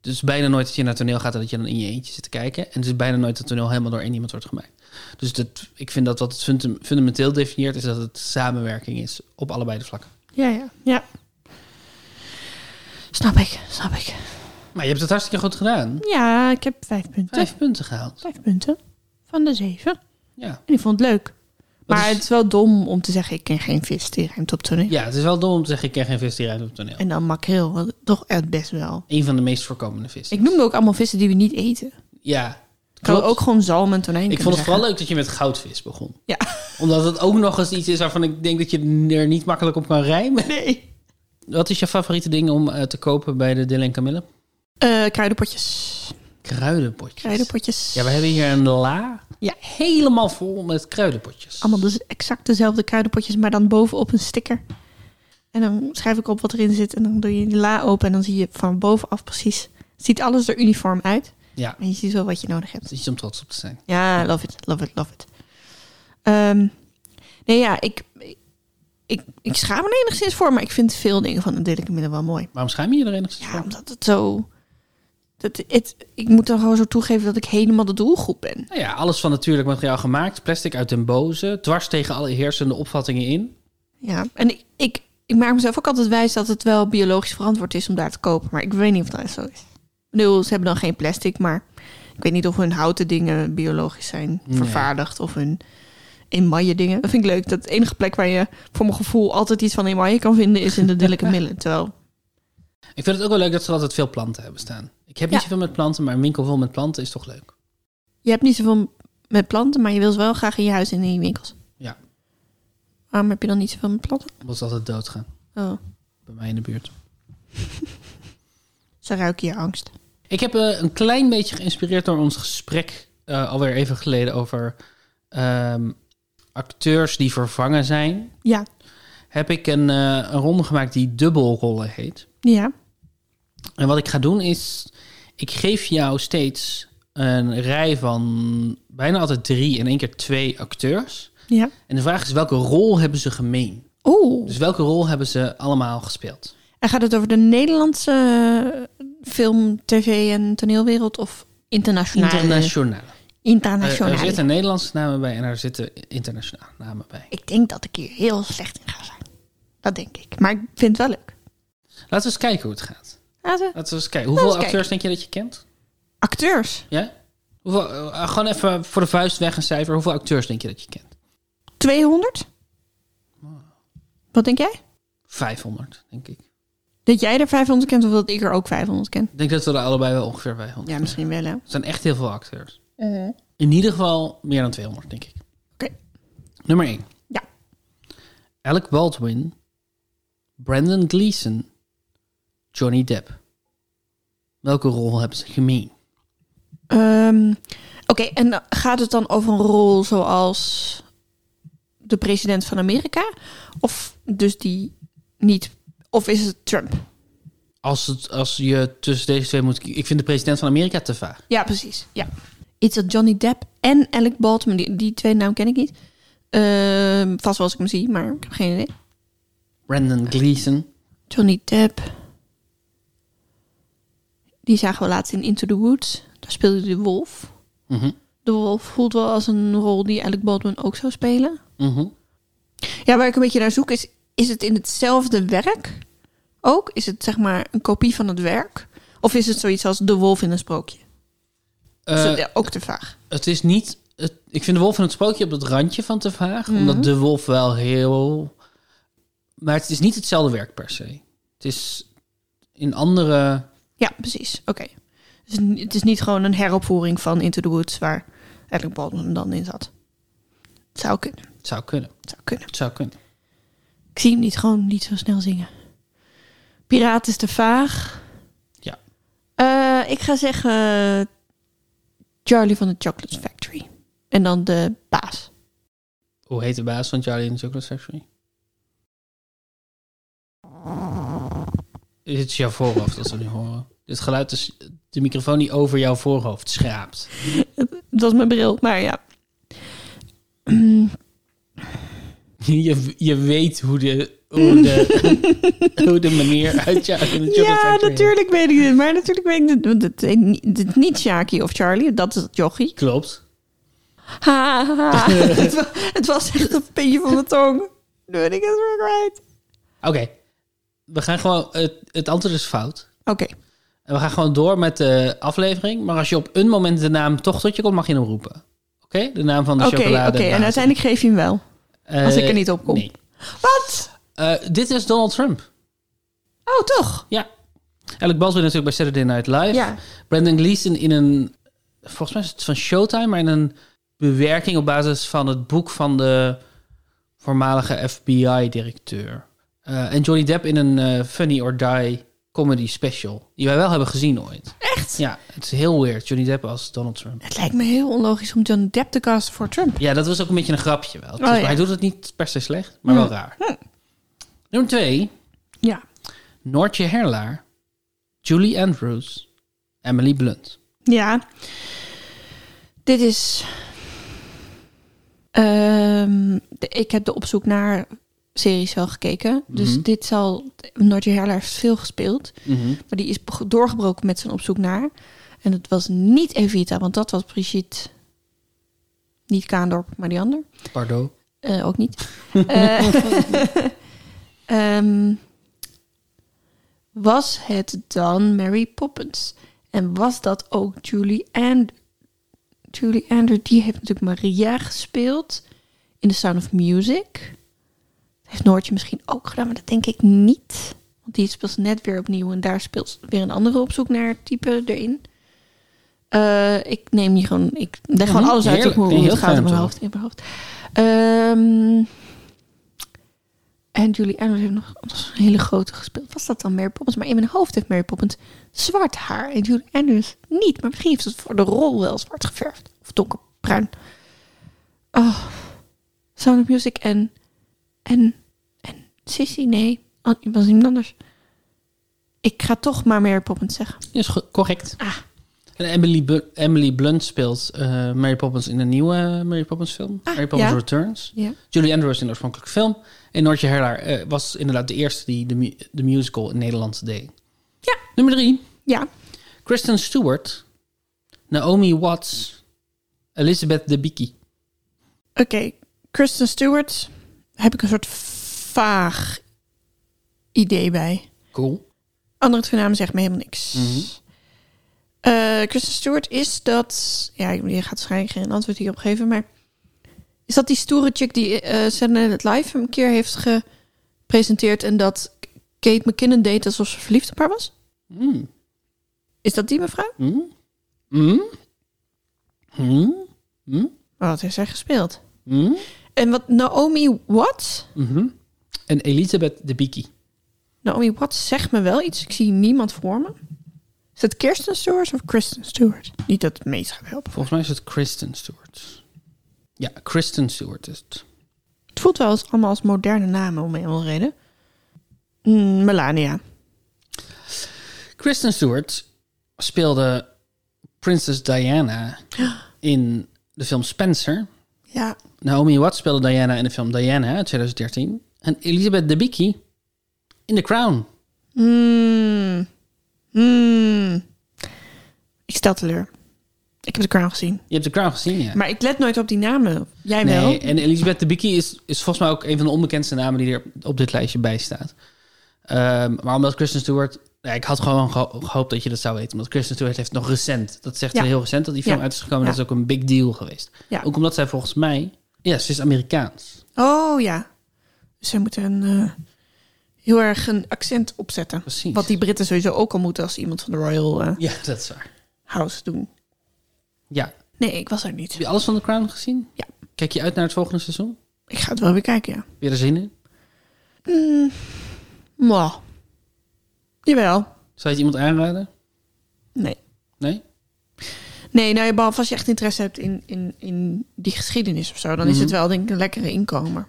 Dus het is bijna nooit dat je naar toneel gaat en dat je dan in je eentje zit te kijken. En het is bijna nooit dat toneel helemaal door één iemand wordt gemaakt. Dus dat, ik vind dat wat het fundam- fundamenteel definieert is dat het samenwerking is op allebei de vlakken. Ja, ja. ja. Snap ik, snap ik. Maar je hebt het hartstikke goed gedaan. Ja, ik heb vijf punten. Vijf punten gehaald. Vijf punten van de zeven. Ja. En ik vond het leuk. Wat Maar is- het is wel dom om te zeggen, ik ken geen vis die ruimt op toneel. Ja, het is wel dom om te zeggen, ik ken geen vis die rijdt op het toneel. En dan makreel, want toch echt best wel. Een van de meest voorkomende vissen. Ik noemde ook allemaal vissen die we niet eten. ja, Ik kan klopt. ook gewoon zalm en tonijn ik kunnen vond het vooral zeggen. leuk dat je met goudvis begon. Ja. Omdat het ook nog eens iets is waarvan ik denk dat je er niet makkelijk op kan rijmen. Nee. Wat is je favoriete ding om eh, te kopen bij de Dylan en Camille? Eh, kruidenpotjes. Kruidenpotjes. Kruidenpotjes. Ja, we hebben hier een la Ja. helemaal vol met kruidenpotjes. Allemaal dus exact dezelfde kruidenpotjes, maar dan bovenop een sticker. En dan schrijf ik op wat erin zit en dan doe je die la open en dan zie je van bovenaf precies. Ziet alles er uniform uit. Ja, En je ziet wel wat je nodig hebt. dat is iets om trots op te zijn. Ja, love it, love it, love it. Ehm, nee, ja, ik, ik, ik schaam me er enigszins voor, maar ik vind veel dingen van de dierlijke middelen wel mooi. Waarom schaam je je er enigszins Ja, voor? omdat het zo. Dat, het, ik moet dan gewoon zo toegeven dat ik helemaal de doelgroep ben. Nou ja, alles van natuurlijk materiaal gemaakt. Plastic uit den boze. Dwars tegen alle heersende opvattingen in. Ja, en ik, ik, ik maak mezelf ook altijd wijs dat het wel biologisch verantwoord is om daar te kopen. Maar ik weet niet of dat echt zo is. Ik bedoel, ze hebben dan geen plastic, maar ik weet niet of hun houten dingen biologisch zijn Nee. vervaardigd of hun emaille dingen. Dat vind ik leuk. Dat de enige plek waar je voor mijn gevoel altijd iets van emaille kan vinden is in de dillelijke middelen. Terwijl, Ik vind het ook wel leuk dat ze altijd veel planten hebben staan. Ik heb niet Ja. zoveel met planten, maar een winkel vol met planten is toch leuk. je hebt niet zoveel met planten, maar je wil ze wel graag in je huis en in je winkels. Ja. Waarom heb je dan niet zoveel met planten? Omdat ze altijd doodgaan. Oh, Bij mij in de buurt. ze ruiken je angst. Ik heb eh, een klein beetje geïnspireerd door ons gesprek eh, alweer even geleden over ehm, acteurs die vervangen zijn. Ja. Heb ik een, eh, een ronde gemaakt die dubbelrollen heet. Ja. En wat ik ga doen is, ik geef jou steeds een rij van bijna altijd drie en één keer twee acteurs. Ja. En de vraag is welke rol hebben ze gemeen? Oeh. Dus welke rol hebben ze allemaal gespeeld? En gaat het over de Nederlandse eh, film, tv en toneelwereld of internationale? Internationaal. Eh, Internationale. Eh, Er zitten Nederlandse namen bij en er zitten internationale namen bij. Ik denk dat ik hier heel slecht in ga zijn. Dat denk ik. Maar ik vind het wel leuk. Laten we eens kijken hoe het gaat. Ja, ze- Laten we eens kijken. Hoeveel eens acteurs denk je dat je kent? Acteurs. Ja? Hoeveel, eh, gewoon even voor de vuist weg een cijfer. Hoeveel acteurs denk je dat je kent? 200? Wat denk jij? 500, denk ik. Dat jij er 500 kent of dat ik er ook 500 ken? Ik denk dat we er allebei wel ongeveer 500 Ja, misschien wel hè. Er zijn echt heel veel acteurs. In ieder geval meer dan 200, denk ik. Oké. Nummer 1. Ja. Alec Baldwin, Brandon Gleeson, Johnny Depp. Welke rol hebben ze gemeen? Ehm, Oké, en gaat het dan over een rol zoals de president van Amerika? Of dus die niet... Of is het Trump? Als, het, als je tussen deze twee moet kiezen. Ik vind de president van Amerika te vaag. Ja, precies. Ja. Iets dat Johnny Depp en Alec Baldwin, die, die twee naam ken ik niet. Ehm, vast wel als ik hem zie, maar ik heb geen idee. Brandon Gleeson. Johnny Depp. Die zagen we laatst in Into the Woods. Daar speelde hij de wolf. Mhm. De wolf voelt wel als een rol die Alec Baldwin ook zou spelen. Mhm. Ja, waar ik een beetje naar zoek is, is het in hetzelfde werk ook? Is het zeg maar een kopie van het werk? Of is het zoiets als de wolf in een sprookje? Is Eh, dat ook te vaag. het is niet. Het, ik vind de wolf en het spookje op het randje van te vaag. Mhm. Omdat de wolf wel heel. Maar het is niet hetzelfde werk per se. Het is in andere. Ja, precies. Oké. Dus n- het is niet gewoon een heropvoering van Into the Woods waar Alec Baldwin dan in zat. Het zou kunnen. Het zou kunnen. Het zou kunnen. Het zou kunnen. Ik zie hem niet gewoon niet zo snel zingen. Piraat is te vaag. Ja. Eh, ik ga zeggen Charlie van de Chocolate Factory. En dan de baas. Hoe heet de baas van Charlie in the Chocolate Factory? Dit is jouw voorhoofd dat we nu horen. Dit geluid is de microfoon die over jouw voorhoofd schraapt. Dat was mijn bril, maar ja. Je, je weet hoe de, hoe, de, hoe de manier uit Charlie in the Chocolate Ja, Factory heet. natuurlijk weet ik dit. Maar natuurlijk weet ik dit. Want het heet niet- dit is niet Shaki of Charlie, dat is het jochie. Klopt. Ha, ha, ha. het, wa- het was echt een pintje van mijn tong. Nu ben ik het weer kwijt. Oké. We gaan gewoon... Het, het antwoord is fout. Oké, En we gaan gewoon door met de aflevering. Maar als je op een moment de naam toch tot je komt, mag je hem roepen. Oké? De naam van de oké, chocolade. oké. En uiteindelijk geef je hem wel. Eh, als ik er niet op kom. Nee. Wat? Eh, dit is Donald Trump. Oh, toch? Ja. Alec Baldwin natuurlijk bij Saturday Night Live. Ja. Brandon Gleeson in een... Volgens mij is het van Showtime, maar in een bewerking op basis van het boek van de voormalige FBI-directeur. en Johnny Depp in een eh, Funny or Die comedy special. Die wij wel hebben gezien ooit. Echt? Ja, het is heel weird. Johnny Depp als Donald Trump. Het lijkt me heel onlogisch om John Depp te casten voor Trump. Ja, dat was ook een beetje een grapje wel. Dus- Oh, ja. Hm. maar Hij doet het niet per se slecht, maar wel raar. Nummer twee. Ja. Noortje Herlaar, Julie Andrews, Emily Blunt. Ja. Dit is... Ehm, de- ik heb de opzoek naar series wel gekeken. Dus Mhm. dit dit zal... Noordje Herla heeft veel gespeeld. Maar die is beg- doorgebroken met zijn opzoek naar. En dat was niet Evita, want dat was Brigitte... Niet Kaandorp, maar die ander. Pardon. Eh, ook niet. Eh, ehm, was het dan Mary Poppins? En was dat ook Julie Andrew? Julie Andrew, die heeft natuurlijk Maria gespeeld in The Sound of Music. Heeft Noortje misschien ook gedaan, maar dat denk ik niet. Want die speelt ze net weer opnieuw en daar speelt ze weer een andere opzoek naar type erin. Eh, ik neem hier gewoon, ik leg gewoon Mhm, alles uit heerlijk. hoe hoe Heel het gaat in fijn mijn zo. hoofd. In mijn hoofd. Ehm, en Julie Andrews heeft nog anders een hele grote gespeeld. Was dat dan Mary Poppins? Maar in mijn hoofd heeft Mary Poppins zwart haar. En Julie Andrews niet. Maar misschien heeft ze het voor de rol wel zwart geverfd. Of donkerbruin. Oh. Sound of Music en... En... En Sissy? Nee. Oh, het was iemand anders. Ik ga toch maar Mary Poppins zeggen. Is go- correct. Ah. En Emily, Bu- Emily Blunt speelt eh, Mary Poppins in een nieuwe eh, Mary Poppins film. Ah, Mary Poppins ja. Returns. Ja. Julie Andrews in de oorspronkelijke film. En Noortje Herlaar eh, was inderdaad de eerste die de, mu- de musical in Nederland deed. Ja. Nummer drie. Ja. Kristen Stewart. Naomi Watts. Elizabeth Debicki. Oké. Kristen Stewart. Heb ik een soort vaag idee bij. Cool. Andere twee namen zegt me helemaal niks. Mhm. Eh, Kristen Stewart is dat... Ja, je gaat waarschijnlijk geen antwoord hierop geven, maar... Is dat die stoere chick die eh Saturday Night Live een keer heeft gepresenteerd... en dat Kate McKinnon deed alsof ze verliefd op haar was? Mm. Is dat die mevrouw? Mm. Mm. Mm. Mm. Wat Oh, heeft zij gespeeld? Mm. En wat Naomi Watts? Mhm. En Elizabeth Debicki. Naomi Watts zegt me wel iets. Ik zie niemand voor me. Is het Kirsten Stewart of Kristen Stewart? Niet dat het meest gaat helpen. Volgens mij is het Kristen Stewart. Ja, Kristen Stewart is het. Het voelt wel als, allemaal als moderne namen om een of andere reden. Mm, Melania. Kristen Stewart speelde Princess Diana in de film Spencer. Ja. Naomi Watts speelde Diana in de film Diana uit 2013. En Elizabeth Debicki in The Crown. Mm. Mm. Ik stel teleur. Ik heb de crown gezien. Je hebt The Crown gezien, ja. Maar ik let nooit op die namen. Jij wel? Nee, eh, en Elisabeth Debicki is, is volgens mij ook een van de onbekendste namen die er op dit lijstje bij staat. Ehm, maar omdat Kristen Stewart... Ja, ik had gewoon geho- gehoopt dat je dat zou weten. Omdat Kristen Stewart heeft nog recent... Dat zegt Ja. heel recent dat die film Ja. uit is gekomen. Ja. Dat is ook een big deal geweest. Ja. Ook omdat zij volgens mij... Ja, ze is Amerikaans. Oh ja. Ze moeten een, eh, heel erg een accent opzetten. Precies. Wat die Britten sowieso ook al moeten als ze iemand van de Royal eh, Ja, dat is waar. House doen. Ja. Nee, ik was er niet. Heb je alles van The Crown gezien? Ja. Kijk je uit naar het volgende seizoen? Ik ga het wel weer kijken, ja. Heb je er zin in? Mm. Mwah. Jawel. Zou je het iemand aanraden? Nee. Nee? Nee, nou, ja, behalve als je echt interesse hebt in, in, in die geschiedenis of zo, dan is het Mhm. wel denk ik een lekkere inkomer.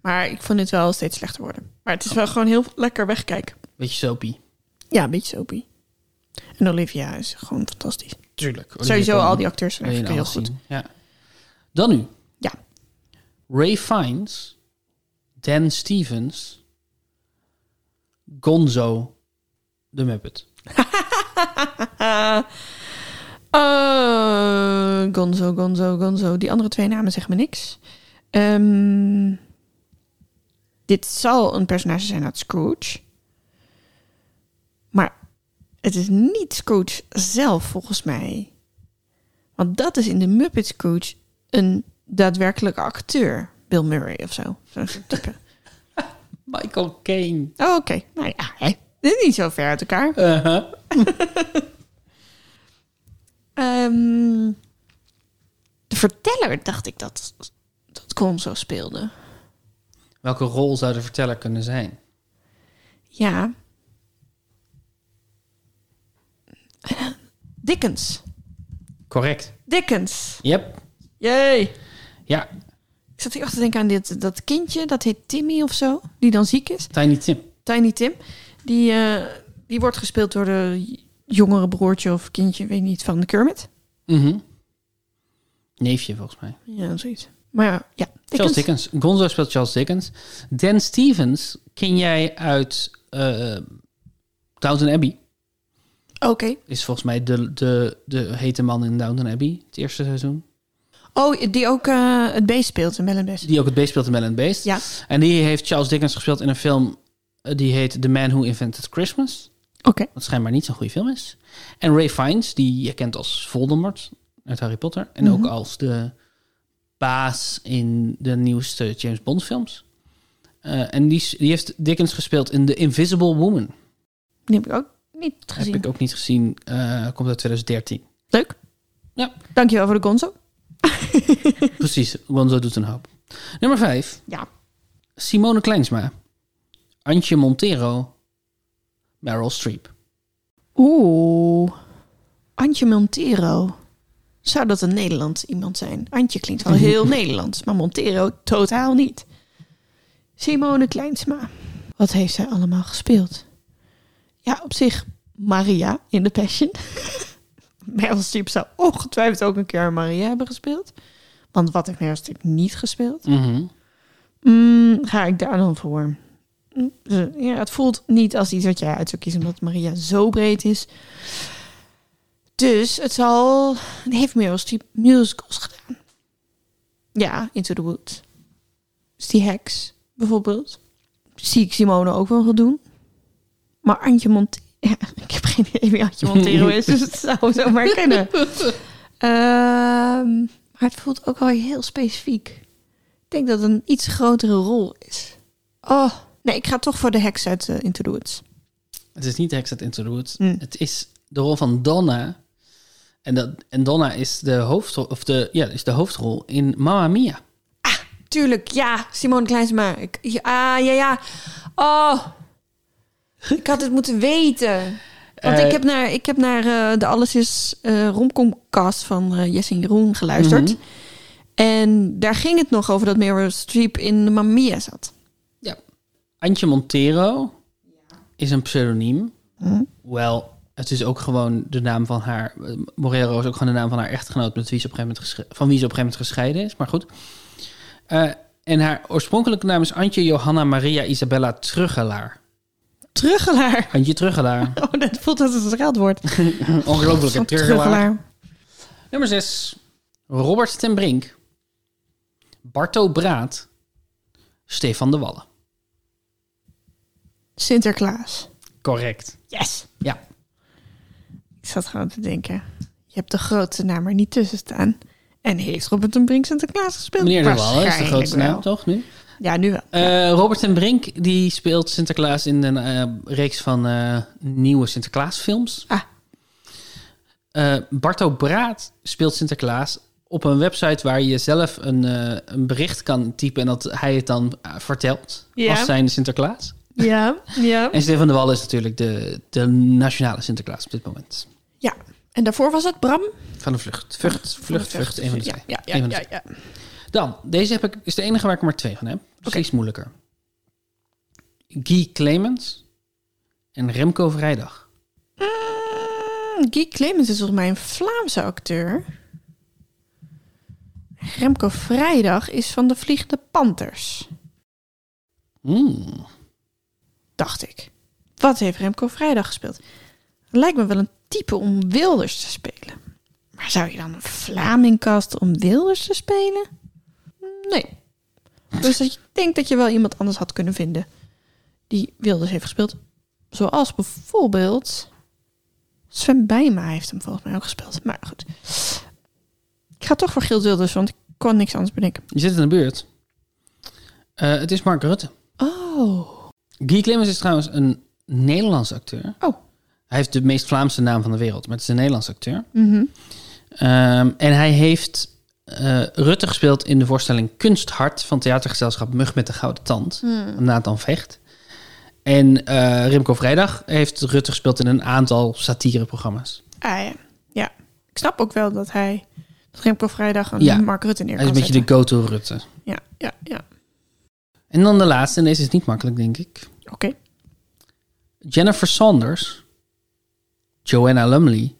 Maar ik vond het wel steeds slechter worden. Maar het is wel gewoon heel lekker wegkijken. Beetje soapy. Ja, een beetje soapie. En Olivia is gewoon fantastisch. Tuurlijk. Sowieso Olivia al Colman. die acteurs zijn Wil je eigenlijk heel nou goed. zien. Ja. Dan nu. Ja. Ray Fiennes, Dan Stevens, Gonzo, de Muppet. Eh, Gonzo, Gonzo, Gonzo. Die andere twee namen zeggen me niks. Ehm, dit zal een personage zijn uit Scrooge. Maar het is niet Scrooge zelf, volgens mij. Want dat is in de Muppet Scrooge een daadwerkelijke acteur. Bill Murray of zo. Zo'n soort type. Michael Caine. Oh, Oké, nou ja. Hè. Dit is niet zo ver uit elkaar. Uh-huh. Ehm, de verteller dacht ik dat dat Gonzo speelde. Welke rol zou de verteller kunnen zijn? Ja. Dickens. Correct. Dickens. Yep. Jee. Ja, Ik zat hier echt te denken aan dit, dat kindje, dat heet Timmy of zo, die dan ziek is. Tiny Tim. Tiny Tim. Die, eh, die wordt gespeeld door de jongere broertje of Mm-hmm. kindje, weet niet, van Kermit. Mhm. Neefje, volgens mij. Ja, zoiets. Maar ja, ja Charles Dickens. Dickens. Gonzo speelt Charles Dickens. Dan Stevens ken jij uit eh Downton Abbey. Oké. Is volgens mij de, de, de hete man in Downton Abbey. Het eerste seizoen. Oh, die ook eh, het beest speelt in Mel en Best. Die ook het beest speelt in Mel and Beast. Ja. En die heeft Charles Dickens gespeeld in een film eh, die heet The Man Who Invented Christmas. Oké. Wat schijnbaar niet zo'n goede film is. En Ray Fiennes, die je kent als Voldemort uit Harry Potter. En Mhm. ook als de baas in de nieuwste James Bond films. Eh, en die, is- die heeft Dickens gespeeld in The Invisible Woman. Die heb ik ook niet gezien. Heb ik ook niet gezien. Eh, komt uit 2013. Leuk. Ja. Dankjewel voor de gonzo. Precies, Gonzo doet een hoop. Nummer 5. Ja. Simone Kleinsma. Antje Montero. Meryl Streep. Oeh. Antje Montero. Zou dat een Nederlands iemand zijn? Antje klinkt wel heel Nederlands, maar Montero totaal niet. Simone Kleinsma. Wat heeft zij allemaal gespeeld? Ja, op zich Maria in The Passion. Meryl Streep zou ongetwijfeld ook een keer Maria hebben gespeeld. Want wat heeft Meryl Streep niet gespeeld? Mm, ga ik daar dan voor? Mm, ze- Ja, het voelt niet als iets wat jij uit zou kiezen, omdat Maria zo breed is. Dus het zal... Die heeft Meryl Streep musicals gedaan. Ja, Into the Woods. Dus die Heks, bijvoorbeeld. Zie ik Simone ook wel gaan doen. Maar Antje Montero... Ja, ik heb geen idee wie Antje Montero is, dus het zou zo maar kunnen. Ehm, maar het voelt ook wel heel specifiek. Ik denk dat het een iets grotere rol is. Oh, nee, ik ga toch voor de heks uit eh, Into the Woods. Het is niet Hexed Into the Woods. Mm. Het is de rol van Donna. En, dat, en Donna is de, hoofdrol, of de, ja, is de hoofdrol in Mamma Mia. Tuurlijk, ja, Simone Kleinsma. Ik, ja, ah, ja, ja. Oh, ik had het moeten weten. Want Eh, ik heb naar, ik heb naar eh, de Alles is eh romcomcast van eh, Jesse en Jeroen geluisterd. Mhm. En daar ging het nog over dat Meryl Streep in Mamma Mia zat. Antje Montero is een pseudoniem. Hm? Wel, het is ook gewoon de naam van haar. eh, Morero is ook gewoon de naam van haar echtgenoot, met wie ze op een gegeven moment gesche- van wie ze op een gegeven moment gescheiden is. Maar goed. Eh, en haar oorspronkelijke naam is Antje Johanna Maria Isabella Trugelaar. Truggelaar. Antje Trugelaar. Oh, dat voelt als het raadwoord. Ongelooflijk, hè? Van Trugelaar. Nummer 6. Robert ten Brink. Barto Braat. Stefan de Wallen. Sinterklaas. Correct. Yes. Ja. Ik zat gewoon te denken. Je hebt de grootste naam er niet tussen staan. En heeft Robert en Brink Sinterklaas gespeeld? Meneer de Wallen is de Waarschijnlijk grootste naam, wel. toch? Nu? Ja, nu wel. Eh, Robert en Brink die speelt Sinterklaas in een eh, reeks van eh, nieuwe Sinterklaasfilms. Ah. Eh, Barto Braat speelt Sinterklaas op een website waar je zelf een, eh, een bericht kan typen en dat hij het dan eh, vertelt Ja. als zijn Sinterklaas. Ja, ja. En Stefan de Wal is natuurlijk de, de nationale Sinterklaas op dit moment. Ja, en daarvoor was het Bram? Van de vlucht. Vlucht, vlucht, vlucht. Een van de ja, twee. ja, Een ja, van de ja, twee. Dan, deze heb ik, is de enige waar ik er maar twee van heb. Dus die is moeilijker. Guy Clemens en Remco Vrijdag. Mm, Guy Clemens is volgens mij een Vlaamse acteur. Remco Vrijdag is van de Vliegende Panthers, Hmm. dacht ik. Wat heeft Remco Vrijdag gespeeld? Lijkt me wel een type om Wilders te spelen. Maar zou je dan een Vlaming casten om Wilders te spelen? Nee. Dus dat- ik denk dat je wel iemand anders had kunnen vinden die Wilders heeft gespeeld. Zoals bijvoorbeeld Sven Bijma heeft hem volgens mij ook gespeeld. Maar goed. Ik ga toch voor Gild Wilders, want ik kon niks anders bedenken. Je zit in de buurt. Eh, het is Mark Rutte. Oh. Guy Clemens is trouwens een Nederlands acteur. Oh. Hij heeft de meest Vlaamse naam van de wereld, maar het is een Nederlands acteur. Mhm. Ehm, en hij heeft eh, Rutte gespeeld in de voorstelling Kunsthart van theatergezelschap Mug met de Gouden Tand. Hmm. van Nathan Vecht. En eh Remco Vrijdag heeft Rutte gespeeld in een aantal satireprogramma's. Ah ja. ja. Ik snap ook wel dat hij dat Remco Vrijdag een Ja. Mark Rutte neer Hij is een kan beetje de go-to Rutte. zetten. Ja, ja, ja. En dan de laatste, en deze is niet makkelijk, denk ik. Oké. Jennifer Saunders, Joanna Lumley,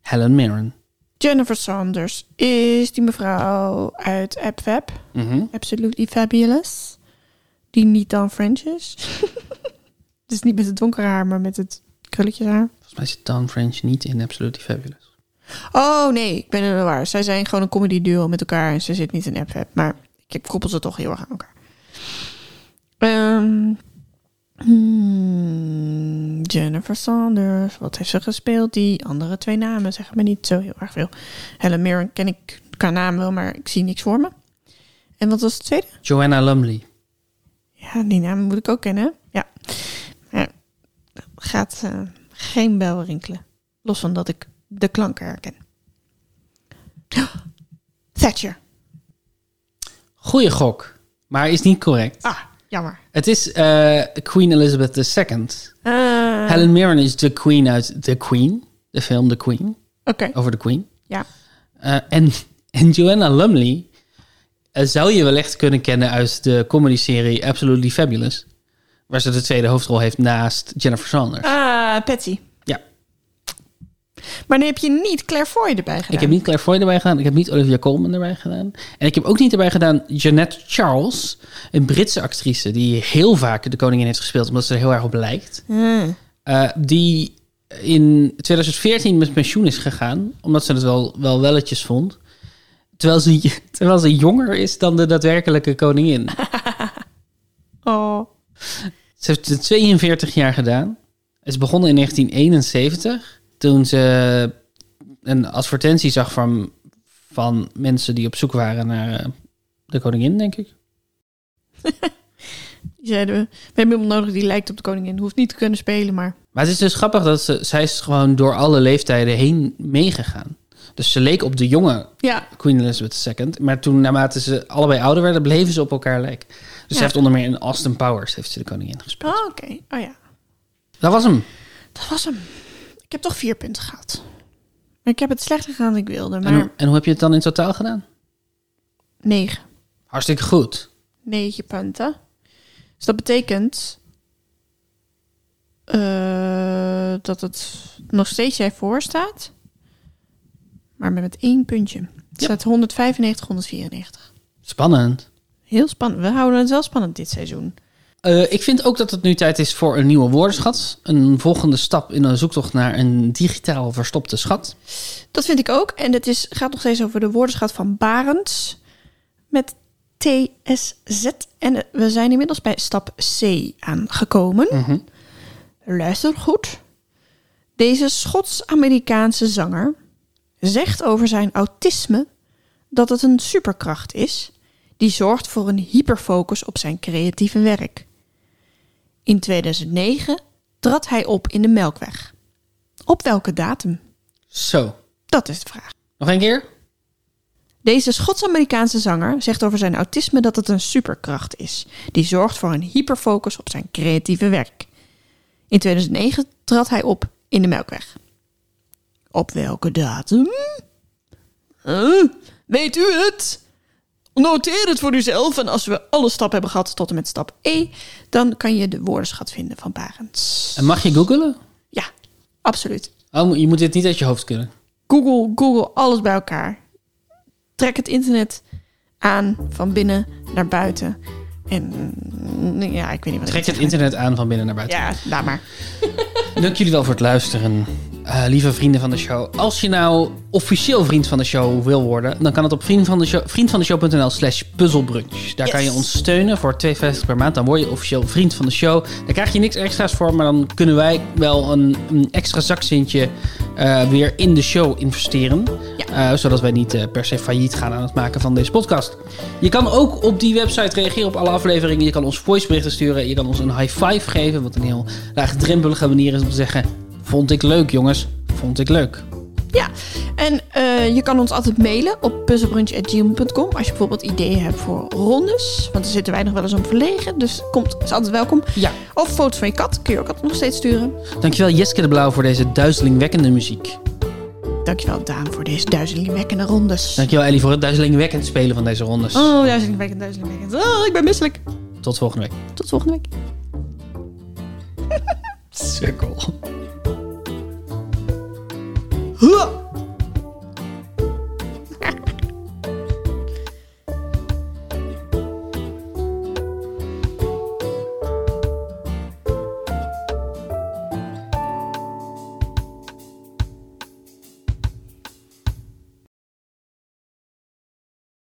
Helen Mirren. Jennifer Sanders is die mevrouw uit AppFab. Mhm. Absolutely Fabulous. Die niet dan French is. dus niet met het donkere haar, maar met het krulletjes haar. Volgens mij zit Dan French niet in Absolutely Fabulous. Oh nee, ik ben er waar. Zij zijn gewoon een comedy duo met elkaar en ze zit niet in AppFab. Maar ik koppel ze toch heel erg aan elkaar. Ehm, hmm, Jennifer Sanders, wat heeft ze gespeeld? Die andere twee namen zeggen me niet zo heel erg veel. Helen Mirren ken ik qua naam wel, maar ik zie niks voor me. En wat was het tweede? Joanna Lumley. Ja, die naam moet ik ook kennen. Ja. Maar gaat eh, geen bel rinkelen. Los van dat ik de klanken herken. Thatcher. Goeie gok, maar is niet correct. Ah, jammer. Het is eh, Queen Elizabeth II. Eh, Helen Mirren is de queen uit The Queen. De film The Queen. Oké, Over de queen. ja. Eh, en, en Joanna Lumley eh, zou je wellicht kunnen kennen uit de comedy-serie Absolutely Fabulous. Waar ze de tweede hoofdrol heeft naast Jennifer Saunders. Ah, Patsy. Ja. Maar dan heb je niet Claire Foy erbij gedaan. Ik heb niet Claire Foy erbij gedaan. Ik heb niet Olivia Colman erbij gedaan. En ik heb ook niet erbij gedaan Jeanette Charles. Een Britse actrice die heel vaak de koningin heeft gespeeld. Omdat ze er heel erg op lijkt. Eh, Eh, die in 2014 met pensioen is gegaan. Omdat ze het wel, wel welletjes vond. Terwijl ze, terwijl ze jonger is dan de daadwerkelijke koningin. Oh. Ze heeft het 42 jaar gedaan. Het is begonnen in 1971. Toen ze een advertentie zag van, van mensen die op zoek waren naar eh, de koningin, denk ik. Die zeiden we. We hebben iemand nodig die lijkt op de koningin. Hoeft niet te kunnen spelen, maar. Maar het is dus grappig dat ze, zij is gewoon door alle leeftijden heen meegegaan. Dus ze leek op de jonge Ja. Queen Elizabeth II. Maar toen, naarmate ze allebei ouder werden, bleven ze op elkaar lijken. Dus Ja. ze heeft onder meer in Austin Powers heeft ze de koningin gespeeld. Oh, oké. Oh ja. Dat was hem. Dat was hem. Ik heb toch vier punten gehad. Maar ik heb het slechter gedaan dan ik wilde. En, hoe- Maar en hoe heb je het dan in totaal gedaan? negen. Hartstikke goed. Negen punten. Dus dat betekent... eh, dat het nog steeds jij voor staat. Maar met één puntje. Dus Het Ja. staat 195, 194. Spannend. Heel spannend. We houden het wel spannend dit seizoen. Eh, ik vind ook dat het nu tijd is voor een nieuwe woordenschat. Een volgende stap in een zoektocht naar een digitaal verstopte schat. Dat vind ik ook. En het is, gaat nog steeds over de woordenschat van Barends. Met TSZ. En eh, we zijn inmiddels bij stap C aangekomen. Luister goed. Deze Schots-Amerikaanse zanger zegt over zijn autisme dat het een superkracht is die zorgt voor een hyperfocus op zijn creatieve werk. In 2009 trad hij op in de Melkweg. Op welke datum? Zo, Dat is de vraag. nog een keer. Deze Schots-Amerikaanse zanger zegt over zijn autisme dat het een superkracht is, die zorgt voor een hyperfocus op zijn creatieve werk. In 2009 trad hij op in de Melkweg. Op welke datum? Huh? weet u het? Noteer het voor uzelf en als we alle stappen hebben gehad tot en met stap E, dan kan je de woordenschat vinden van Barends. En mag je googelen? Ja, absoluut. Oh, je moet dit niet uit je hoofd kunnen. Google, Google, alles bij elkaar. Trek het internet aan van binnen naar buiten. En mm, ja, ik weet niet wat Trek ik moet het internet aan van binnen naar buiten. zeggen. Ja, laat maar. Dank jullie wel voor het luisteren. Eh, lieve vrienden van de show, als je nou officieel vriend van de show wil worden, dan kan het op vriendvandeshow- vriendvandeshow.nl slash puzzelbrunch. Daar Yes. kan je ons steunen voor 2,50 per maand. Dan word je officieel vriend van de show. Daar krijg je niks extra's voor, maar dan kunnen wij wel een, een extra zakcentje eh, weer in de show investeren. Eh, zodat wij niet eh, per se failliet gaan aan het maken van deze podcast. Je kan ook op die website reageren op alle afleveringen. Je kan ons voiceberichten sturen. Je kan ons een high five geven. Wat een heel laagdrempelige manier is om te zeggen... Vond ik leuk, jongens. Vond ik leuk. Ja, en eh, je kan ons altijd mailen op puzzelbrunch.gmail.com als je bijvoorbeeld ideeën hebt voor rondes. Want er zitten wij nog wel eens om verlegen, dus komt, is altijd welkom. Ja. Of foto's van je kat kun je ook altijd nog steeds sturen. Dankjewel Jeske de Blauw voor deze duizelingwekkende muziek. Dankjewel Daan voor deze duizelingwekkende rondes. Dankjewel Ellie voor het duizelingwekkend spelen van deze rondes. Oh, duizelingwekkend, duizelingwekkend. Oh, ik ben misselijk. Tot volgende week. Tot volgende week. Cirkel. Huh.